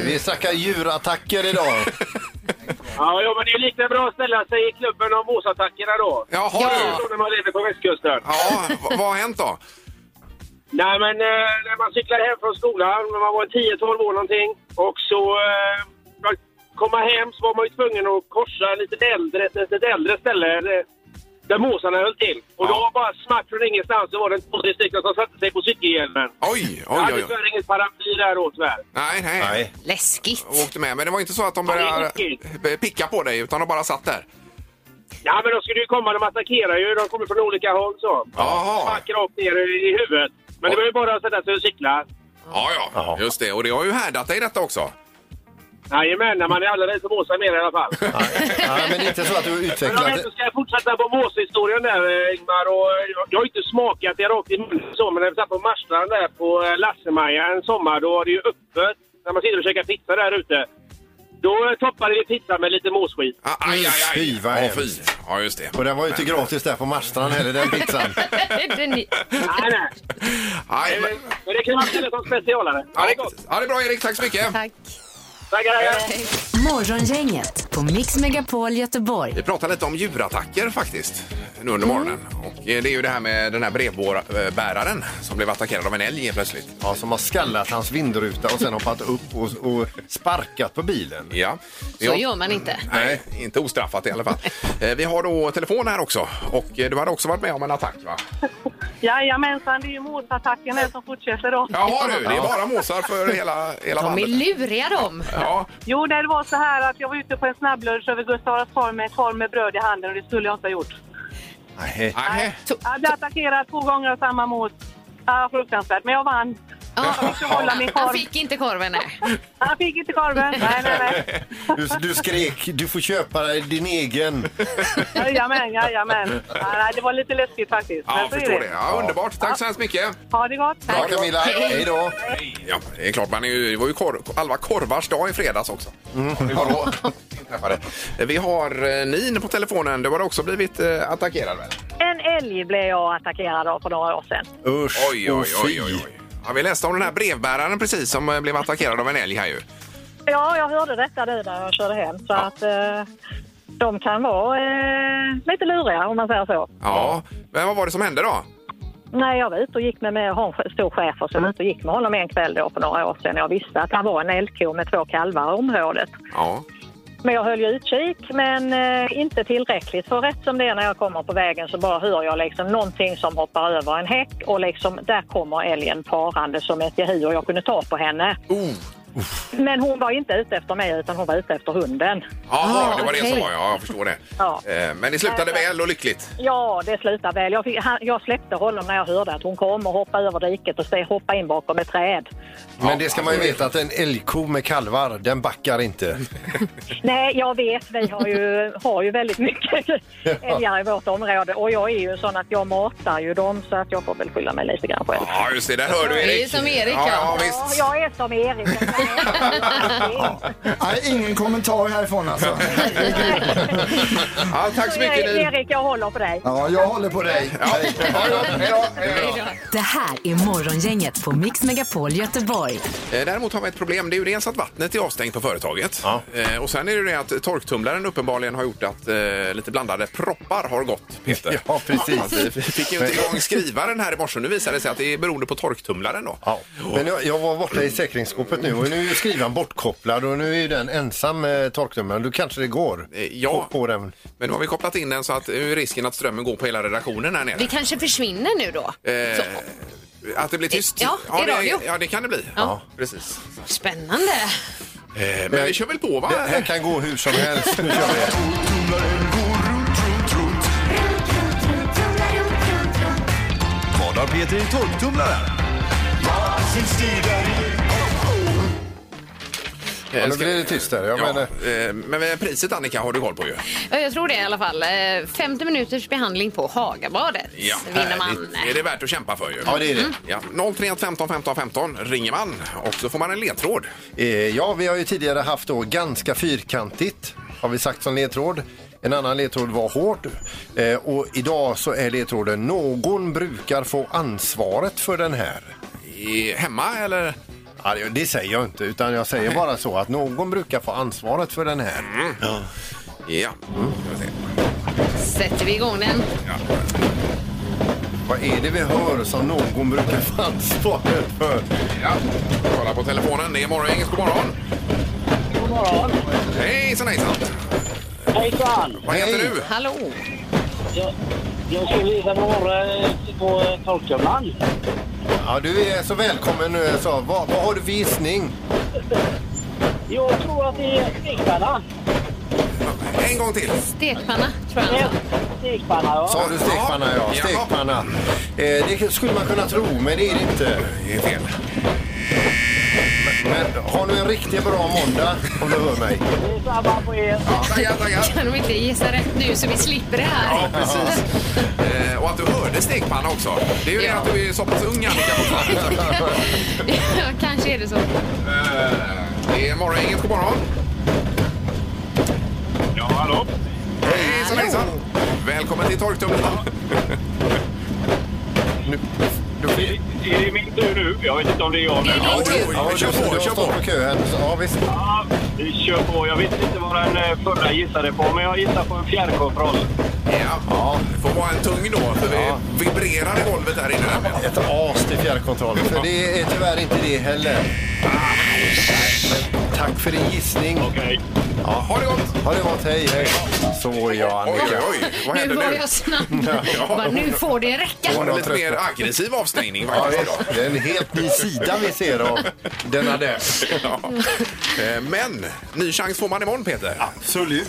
[SPEAKER 5] vi snackar djurattacker idag.
[SPEAKER 11] Ja, ja, men det är lika bra att ställa sig i klubben om måsattackerna då.
[SPEAKER 3] Jaha,
[SPEAKER 11] ja. Det är så när man lever på västkusten.
[SPEAKER 3] Ja, vad har hänt då?
[SPEAKER 11] Nej, men eh, när man cyklade hem från skolan, när man var 10-12 år någonting, och så eh, man komma hem så var man ju tvungen att korsa lite äldre, ett, ett äldre ställe eh, där måsarna höll till. Och då bara smack från ingenstans så var det två, tre stycken som satte sig på cykelhjälmen.
[SPEAKER 3] Oj, oj,
[SPEAKER 11] Jag hade
[SPEAKER 3] oj.
[SPEAKER 11] tyvärr inget paraply där då tyvärr.
[SPEAKER 3] Nej, nej. nej.
[SPEAKER 4] Läskigt.
[SPEAKER 3] Åkte med. Men det var inte så att de började eh, picka på dig utan de bara satt där?
[SPEAKER 11] Ja, men de skulle ju komma. De attackerar ju. De kommer från olika håll så.
[SPEAKER 3] Jaha.
[SPEAKER 11] Smack rakt ner i huvudet. Men det var ju bara att sätta sig och cykla.
[SPEAKER 3] Ja, ja, just det. Och det har ju härdat dig detta också.
[SPEAKER 11] Jajamän, när man är alldeles på måsar mer i alla fall.
[SPEAKER 5] Nej, men inte så att du
[SPEAKER 11] Men om jag
[SPEAKER 5] utvecklade...
[SPEAKER 11] inte ska fortsätta på måshistorien där, eh, Ingmar. Och jag- jag har ju inte smakat det rakt i munnen så, men när vi satt på Marstrand där på eh, Lassemaja en sommar, då var det ju öppet. När man sitter och käkar pizza där ute. Då eh, toppade vi pizza med lite måsskit.
[SPEAKER 3] Ah, Aj, aj, aj.
[SPEAKER 5] Fy, vad
[SPEAKER 3] Ja,
[SPEAKER 5] hemskt.
[SPEAKER 3] fy. Ja, just det.
[SPEAKER 5] Och den var ju inte
[SPEAKER 3] Men-
[SPEAKER 5] gratis där på Marstrand heller, den pizzan.
[SPEAKER 4] Den...
[SPEAKER 11] Nej, nej.
[SPEAKER 3] Nej, men...
[SPEAKER 11] Men det kan man ställa som specialare.
[SPEAKER 3] Ja, ha det bra Erik, tack så mycket.
[SPEAKER 4] Tack.
[SPEAKER 11] Tackar, tackar.
[SPEAKER 2] Morgongänget på Mix Megapol Göteborg.
[SPEAKER 3] Vi pratar lite om djurattacker faktiskt nu
[SPEAKER 4] Mm.
[SPEAKER 3] under morgonen. Och eh, det är ju det här med den här brevbäraren som blev attackerad av en älg helt plötsligt.
[SPEAKER 5] Ja, som har skallat hans vindruta och sen hoppat upp och, och sparkat på bilen.
[SPEAKER 3] Ja. Vi
[SPEAKER 4] Så
[SPEAKER 3] har-
[SPEAKER 4] gör man inte.
[SPEAKER 3] Nej, inte ostraffat i alla fall. Eh, Vi har då telefon här också och eh, du hade också varit med om en attack va?
[SPEAKER 9] Jajamensan, det är ju måsattacken här som fortsätter då.
[SPEAKER 3] Jaha du, det är bara måsar för hela, hela
[SPEAKER 4] De är
[SPEAKER 3] bandet.
[SPEAKER 4] luriga de.
[SPEAKER 3] Ja,
[SPEAKER 9] Jo, det var så här att jag var ute på en snabblunch över Gustav Adolfs torg med en korv med bröd i handen och det skulle jag inte ha gjort.
[SPEAKER 5] Nej.
[SPEAKER 3] nej.
[SPEAKER 9] Jag blev attackerad två gånger av samma mot. Ja, fruktansvärt. Men jag vann.
[SPEAKER 4] Ja.
[SPEAKER 9] Jag håller min
[SPEAKER 4] Han
[SPEAKER 9] korv.
[SPEAKER 4] fick inte korven, nej.
[SPEAKER 9] Han fick inte korven. Nej, nej, nej.
[SPEAKER 5] Du, du skrek, du får köpa din egen.
[SPEAKER 9] Jajamän, jajamän. Ja, nej, det var lite läskigt faktiskt.
[SPEAKER 3] Ja,
[SPEAKER 9] Men så är
[SPEAKER 3] förstår det. Ja, underbart. Tack så hemskt mycket.
[SPEAKER 9] Ha det gott.
[SPEAKER 5] Bra Camilla, hej då.
[SPEAKER 3] Ja, det är klart, man är ju, det var ju korv, Alva Korvars dag i fredags också. Det var då det träffade. Vi har eh, Nin på telefonen. Du har också blivit eh, attackerad väl?
[SPEAKER 9] En älg blev jag attackerad av för några år sedan.
[SPEAKER 5] Usch
[SPEAKER 3] Oj, oj, oj, oj. oj. Ja, vi läste om den här brevbäraren precis som eh, blev attackerad av en älg här ju.
[SPEAKER 9] Ja, jag hörde detta nu när jag körde hem. Så att eh, de kan vara eh, lite luriga om man säger så.
[SPEAKER 3] Ja, men vad var det som hände då?
[SPEAKER 9] Nej, jag var ute och gick med, med jag har en stor chef och så var jag ute och gick med honom en kväll då för några år sedan. Jag visste att han var en älgko med två kalvar i området.
[SPEAKER 3] Ja,
[SPEAKER 9] Men jag höll ju utkik, men eh, inte tillräckligt. För rätt som det är när jag kommer på vägen så bara hör jag liksom någonting som hoppar över en häck och liksom där kommer älgen farande som ett jehu och jag kunde ta på henne.
[SPEAKER 3] oh.
[SPEAKER 9] Men hon var inte ute efter mig utan hon var ute efter hunden.
[SPEAKER 3] Jaha,
[SPEAKER 4] Ah,
[SPEAKER 3] det var det
[SPEAKER 4] okej.
[SPEAKER 3] som var. Ja, jag förstår det.
[SPEAKER 9] Ja.
[SPEAKER 3] Eh, Men det slutade väl och lyckligt.
[SPEAKER 9] Ja, det slutade väl. Jag, fick, han, jag släppte honom när jag hörde att hon kom och hoppade över diket och ste- hoppade in bakom ett träd.
[SPEAKER 5] Men det ska man ju veta att en älgko med kalvar, den backar inte.
[SPEAKER 9] Nej, jag vet. Vi har ju, har ju väldigt mycket älgar i vårt område och jag är ju sån att jag matar ju dem så att jag får väl skylla mig lite grann själv.
[SPEAKER 3] Ja, just det. Där hör du Erik.
[SPEAKER 4] Det är som Erik,
[SPEAKER 3] ja. Ja,
[SPEAKER 4] ja.
[SPEAKER 9] Ja,
[SPEAKER 3] visst.
[SPEAKER 9] jag är som Erik.
[SPEAKER 6] Nej, ingen kommentar härifrån alltså.
[SPEAKER 3] Ja, tack så mycket
[SPEAKER 9] Jag är
[SPEAKER 3] Nin.
[SPEAKER 9] Erik, jag håller på dig.
[SPEAKER 6] Ja, jag håller på dig.
[SPEAKER 3] Ja, ha det gott. Hej då. Hej då.
[SPEAKER 2] Det här är Morgongänget på Mix Megapol Göteborg.
[SPEAKER 3] Eh, Däremot har vi ett problem. Det är ju dels att vattnet är avstängt på företaget.
[SPEAKER 5] Ja.
[SPEAKER 3] Eh, Och sen är det ju det att torktumlaren uppenbarligen har gjort att eh, lite blandade proppar har gått, Peter.
[SPEAKER 5] Ja, precis.
[SPEAKER 3] Alltså, vi fick ju inte igång skrivaren här i morse. Nu visar det sig att det är beroende på torktumlaren då. Oh.
[SPEAKER 5] Ja. Men jag, jag var borta i säkringsskåpet nu och nu är ju skrivaren bortkopplad och nu är ju den ensam eh, torktumlaren. Då kanske det går
[SPEAKER 3] Eh, ja.
[SPEAKER 5] på, på den.
[SPEAKER 3] Men nu har vi kopplat in den så att nu är risken att strömmen går på hela redaktionen här nere.
[SPEAKER 4] Vi kanske försvinner nu då.
[SPEAKER 3] Eh, att det blir tyst?
[SPEAKER 4] Ja, i radio.
[SPEAKER 3] Det, ja, det kan det bli.
[SPEAKER 4] Ja.
[SPEAKER 3] Precis.
[SPEAKER 4] Spännande.
[SPEAKER 3] Eh, men vi kör väl på, va?
[SPEAKER 5] Det här kan gå hur som helst. Nu kör vi.
[SPEAKER 12] Vad har Peter i torktumlaren?
[SPEAKER 5] Ja, nu
[SPEAKER 3] ska-
[SPEAKER 5] blir det tyst där. Jag
[SPEAKER 3] Ja,
[SPEAKER 5] menar,
[SPEAKER 3] eh, men eh, priset Annika har du koll på ju.
[SPEAKER 4] Ja, jag tror det i alla fall. Eh, 50 minuters behandling på Hagabadet
[SPEAKER 3] Ja,
[SPEAKER 4] vinner man. eh. Mm.
[SPEAKER 3] härligt. Det är det värt att kämpa för ju.
[SPEAKER 5] ja, det är det.
[SPEAKER 3] Ja, 031 15 15 15 ringer man och så får man en ledtråd.
[SPEAKER 5] Eh, ja, vi har ju tidigare haft då ganska fyrkantigt, har vi sagt som ledtråd. En annan ledtråd var hård. Eh, och idag så är ledtråden någon brukar få ansvaret för den här.
[SPEAKER 3] hemma eller?
[SPEAKER 5] Ja, det- det säger jag inte, utan jag säger bara så att någon brukar få ansvaret för den här. Mm.
[SPEAKER 3] Ja. Mm. ja.
[SPEAKER 4] Sätter vi igång den?
[SPEAKER 5] Vad är det vi hör som någon brukar få ansvaret för?
[SPEAKER 3] Ja, kolla på telefonen. Det är Morgongänget. God morgon!
[SPEAKER 13] God morgon.
[SPEAKER 3] Hejsan hejsan!
[SPEAKER 13] Hejsan!
[SPEAKER 3] Vad heter du?
[SPEAKER 4] Hallå!
[SPEAKER 13] Jag, jag skulle visa några eh, på eh, torktumlaren.
[SPEAKER 5] Ja, du är så välkommen nu. Så, vad, vad har du för gissning?
[SPEAKER 13] Jag tror att det är stekpanna.
[SPEAKER 3] En gång till.
[SPEAKER 4] Stekpanna, tror jag.
[SPEAKER 13] Stekpanna, ja.
[SPEAKER 5] Sa du stekpanna? Ja, stekpanna. Eh, det skulle man kunna tro, men det är det inte.
[SPEAKER 3] Det är fel.
[SPEAKER 5] Men, men har nu en riktigt bra måndag, om du hör mig.
[SPEAKER 13] Samma på er.
[SPEAKER 4] Kan de inte gissa rätt nu så vi slipper det här?
[SPEAKER 3] Ja, precis. Eh, och att du hörde stekpanna också. Det är ju det att du är så pass ung, Annika. Eh, fortfarande.
[SPEAKER 4] Ja, Kanske är det så.
[SPEAKER 3] Eh, det är Morgongänget. God morgon! Ja, hallå! Hejsan hejsan! Välkommen till torktumlaren.
[SPEAKER 11] Är det min tur nu? Jag vet inte om det är jag. Men...
[SPEAKER 5] Ja, det- ja, du- du har stått på kö här. Ja, visst.
[SPEAKER 11] Ja, vi kör på. Jag vet inte vad den eh, förra gissade på, men jag gissar på en fjärrkontroll.
[SPEAKER 3] Ja, det får vara en tung då, för vi vibrerar i golvet här inne. nämligen.
[SPEAKER 5] Ett as till fjärrkontrollen. För det är tyvärr inte det heller. Men tack för din gissning.
[SPEAKER 11] Okej.
[SPEAKER 5] Ja, ha det gott! Ha det gott, hej, hej. Så ja, Annika.
[SPEAKER 3] Oj, oj, vad
[SPEAKER 4] Nu
[SPEAKER 3] händer
[SPEAKER 4] var
[SPEAKER 3] nu?
[SPEAKER 4] jag snabb.
[SPEAKER 5] Ja.
[SPEAKER 4] Bara, nu får det räcka.
[SPEAKER 3] Det var en lite mer aggressiv avstängning
[SPEAKER 5] Ja,
[SPEAKER 3] faktiskt. idag.
[SPEAKER 5] visst. det är en helt ny sida vi ser av denna adress.
[SPEAKER 3] Ja. Eh, Men ny chans får man imorgon, Peter.
[SPEAKER 5] Absolut.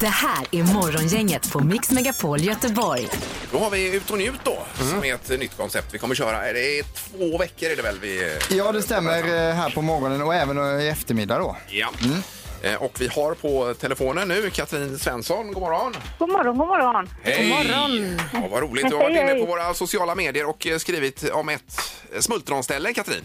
[SPEAKER 2] Det här är Morgongänget på Mix Megapol Göteborg.
[SPEAKER 3] Då har vi Ut och njut då,
[SPEAKER 14] Mm.
[SPEAKER 3] som är ett nytt koncept vi kommer köra. Är det två veckor är det väl vi...
[SPEAKER 6] Ja, det stämmer eh, här på morgonen och även eh, i eftermiddag då.
[SPEAKER 3] Ja.
[SPEAKER 14] Mm.
[SPEAKER 3] Eh, Och vi har på telefonen nu Katrin Svensson. God morgon!
[SPEAKER 14] God morgon, god morgon.
[SPEAKER 3] Hej! Ja, vad roligt. Du har varit
[SPEAKER 14] Hej,
[SPEAKER 3] inne
[SPEAKER 14] hej.
[SPEAKER 3] på våra sociala medier och eh, skrivit om ett smultronställe, Katrin.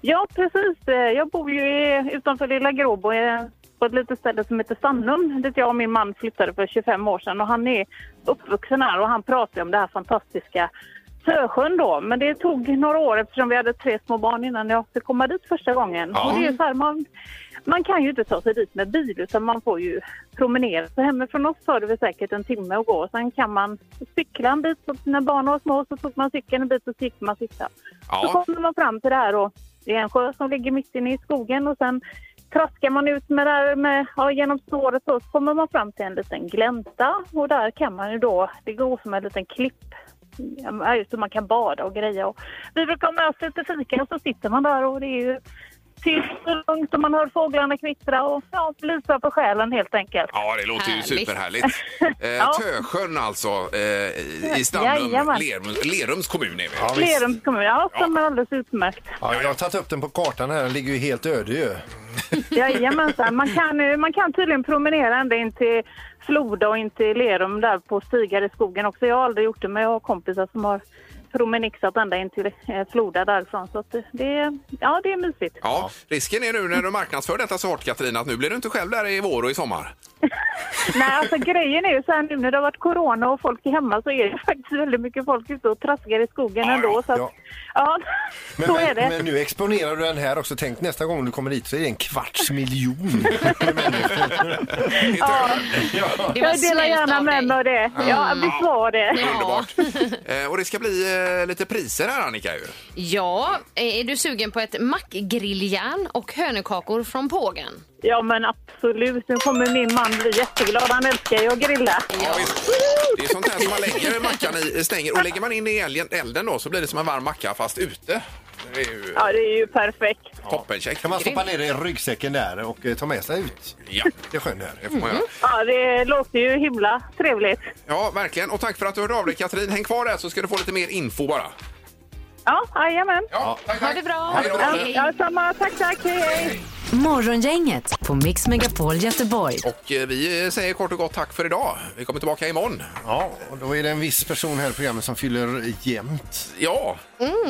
[SPEAKER 14] Ja, precis. Eh, Jag bor ju i- utanför lilla Gråbo eh, på ett litet ställe som heter Sannum dit jag och min man flyttade för 25 år sedan. Och han är uppvuxen här och han pratar ju om det här fantastiska Sösjön då. Men det tog några år eftersom vi hade tre små barn innan jag fick komma dit första gången.
[SPEAKER 15] Ja.
[SPEAKER 14] Och det är så här, man, man kan ju inte ta sig dit med bil utan man får ju promenera. Så hemifrån oss tar det väl säkert en timme att gå. Sen kan man cykla en bit. Så när barnen var små så tog man cykeln en bit och så gick man cykla.
[SPEAKER 15] Ja.
[SPEAKER 14] Så kommer man fram till det här och det är en sjö som ligger mitt inne i skogen och sen traskar man ut med det här med, ja, genom snåret och så kommer man fram till en liten glänta och där kan man ju då, det går som en liten klipp ja, ut och man kan bada och grejer. Och vi brukar ha med oss lite fika och så sitter man där och det är ju tyst och lugnt och man hör fåglarna kvittra och ja, lysa på själen helt enkelt.
[SPEAKER 3] Ja, det låter ju
[SPEAKER 14] Härligt.
[SPEAKER 3] superhärligt. Eh, Tösjön alltså, eh, i- i Stamrum,
[SPEAKER 14] Jajamän.
[SPEAKER 3] Lerum, Lerums kommun är vi.
[SPEAKER 14] Lerums kommun, ja, som är alldeles utmärkt.
[SPEAKER 5] Ja, jag har tagit upp den på kartan här. Den ligger ju helt öde ju.
[SPEAKER 14] Jajamensan. Man kan, eh, man kan tydligen promenera ända in till Floda och in till Lerum där på stigar i skogen också. Jag har aldrig gjort det men jag har kompisar som har promenixat ända in till eh, Floda därifrån. Så att eh, det, är- ja, det är mysigt.
[SPEAKER 3] Ja, risken är nu när du marknadsför detta så hårt Katrin att nu blir du inte själv där i vår och i sommar.
[SPEAKER 14] Nej, alltså grejen är ju så här nu när det har varit corona och folk är hemma så är det faktiskt väldigt mycket folk ute och traskar i skogen ändå. Så att, ja.
[SPEAKER 5] Men,
[SPEAKER 14] så är det.
[SPEAKER 5] men, men nu exponerar du den här också. Tänk nästa gång du kommer dit så är det en kvarts miljon.
[SPEAKER 14] ja.
[SPEAKER 5] Det
[SPEAKER 3] var
[SPEAKER 14] Jag delar
[SPEAKER 3] snällt
[SPEAKER 14] gärna
[SPEAKER 3] av
[SPEAKER 14] med mig av det. Ja,
[SPEAKER 3] Mm.
[SPEAKER 14] visst var det.
[SPEAKER 3] Underbart. Eh, och det ska bli eh, lite priser här Annika ju.
[SPEAKER 4] Ja, är du sugen på ett mackgrilljärn och hönökakor från pågen?
[SPEAKER 14] Ja, men absolut. Nu kommer min man bli jätteglad. Han älskar ju att grilla.
[SPEAKER 3] Det är sånt här som man lägger mackan i, stänger och lägger man in i elden- elden då så blir det som en varm macka fast ute. Det är ju
[SPEAKER 14] Ja, det är ju perfekt.
[SPEAKER 3] toppencheck.
[SPEAKER 5] Kan man stoppa ner det i ryggsäcken där och eh, ta med sig ut?
[SPEAKER 3] Ja.
[SPEAKER 5] Det är skönt Mm-hmm. där.
[SPEAKER 3] Det får man göra.
[SPEAKER 14] Ja, det låter ju himla trevligt.
[SPEAKER 3] Ja, verkligen. Och tack för att du hörde av dig Katrin. Häng kvar där så ska du få lite mer info bara.
[SPEAKER 14] Ja, jajamän.
[SPEAKER 3] Ja, tack, tack.
[SPEAKER 14] Ha det bra.
[SPEAKER 3] Hej då.
[SPEAKER 14] Ja, ja, samma. Tack, tack. Hej, hej.
[SPEAKER 2] Morgongänget på Mix Megapol Göteborg.
[SPEAKER 3] Och eh, vi säger kort och gott tack för idag. Vi kommer tillbaka imorgon.
[SPEAKER 5] Ja, och då är det en viss person här i programmet som fyller jämnt.
[SPEAKER 3] Ja,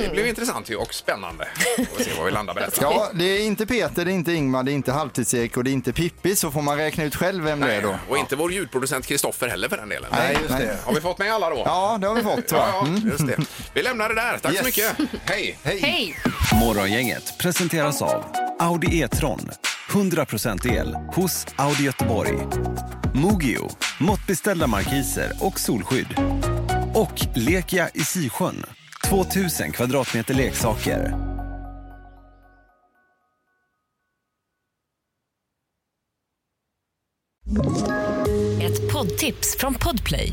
[SPEAKER 3] det blev intressant ju och spännande. Vi får se var vi landar med detta.
[SPEAKER 6] Ja, det är inte Peter, det är inte Ingmar, det är inte Halvtids-Erik och det är inte Pippi, så får man räkna ut själv vem det är då.
[SPEAKER 3] Och inte vår ljudproducent Kristoffer heller för den delen.
[SPEAKER 6] Nej, just Nej. det.
[SPEAKER 3] Har vi fått med alla då?
[SPEAKER 6] Ja, det har vi fått, tror jag. Mm.
[SPEAKER 3] Ja, ja, just det. Vi lämnar det där. Tack
[SPEAKER 12] Yes.
[SPEAKER 3] så mycket. Hej!
[SPEAKER 4] Hej!
[SPEAKER 12] Morgongänget presenteras av Audi E-tron. 100% el hos Audi Göteborg. Mogio. Måttbeställda markiser och solskydd. Och Lekia i Sisjön. 2000 kvadratmeter leksaker.
[SPEAKER 15] Ett poddtips från Podplay.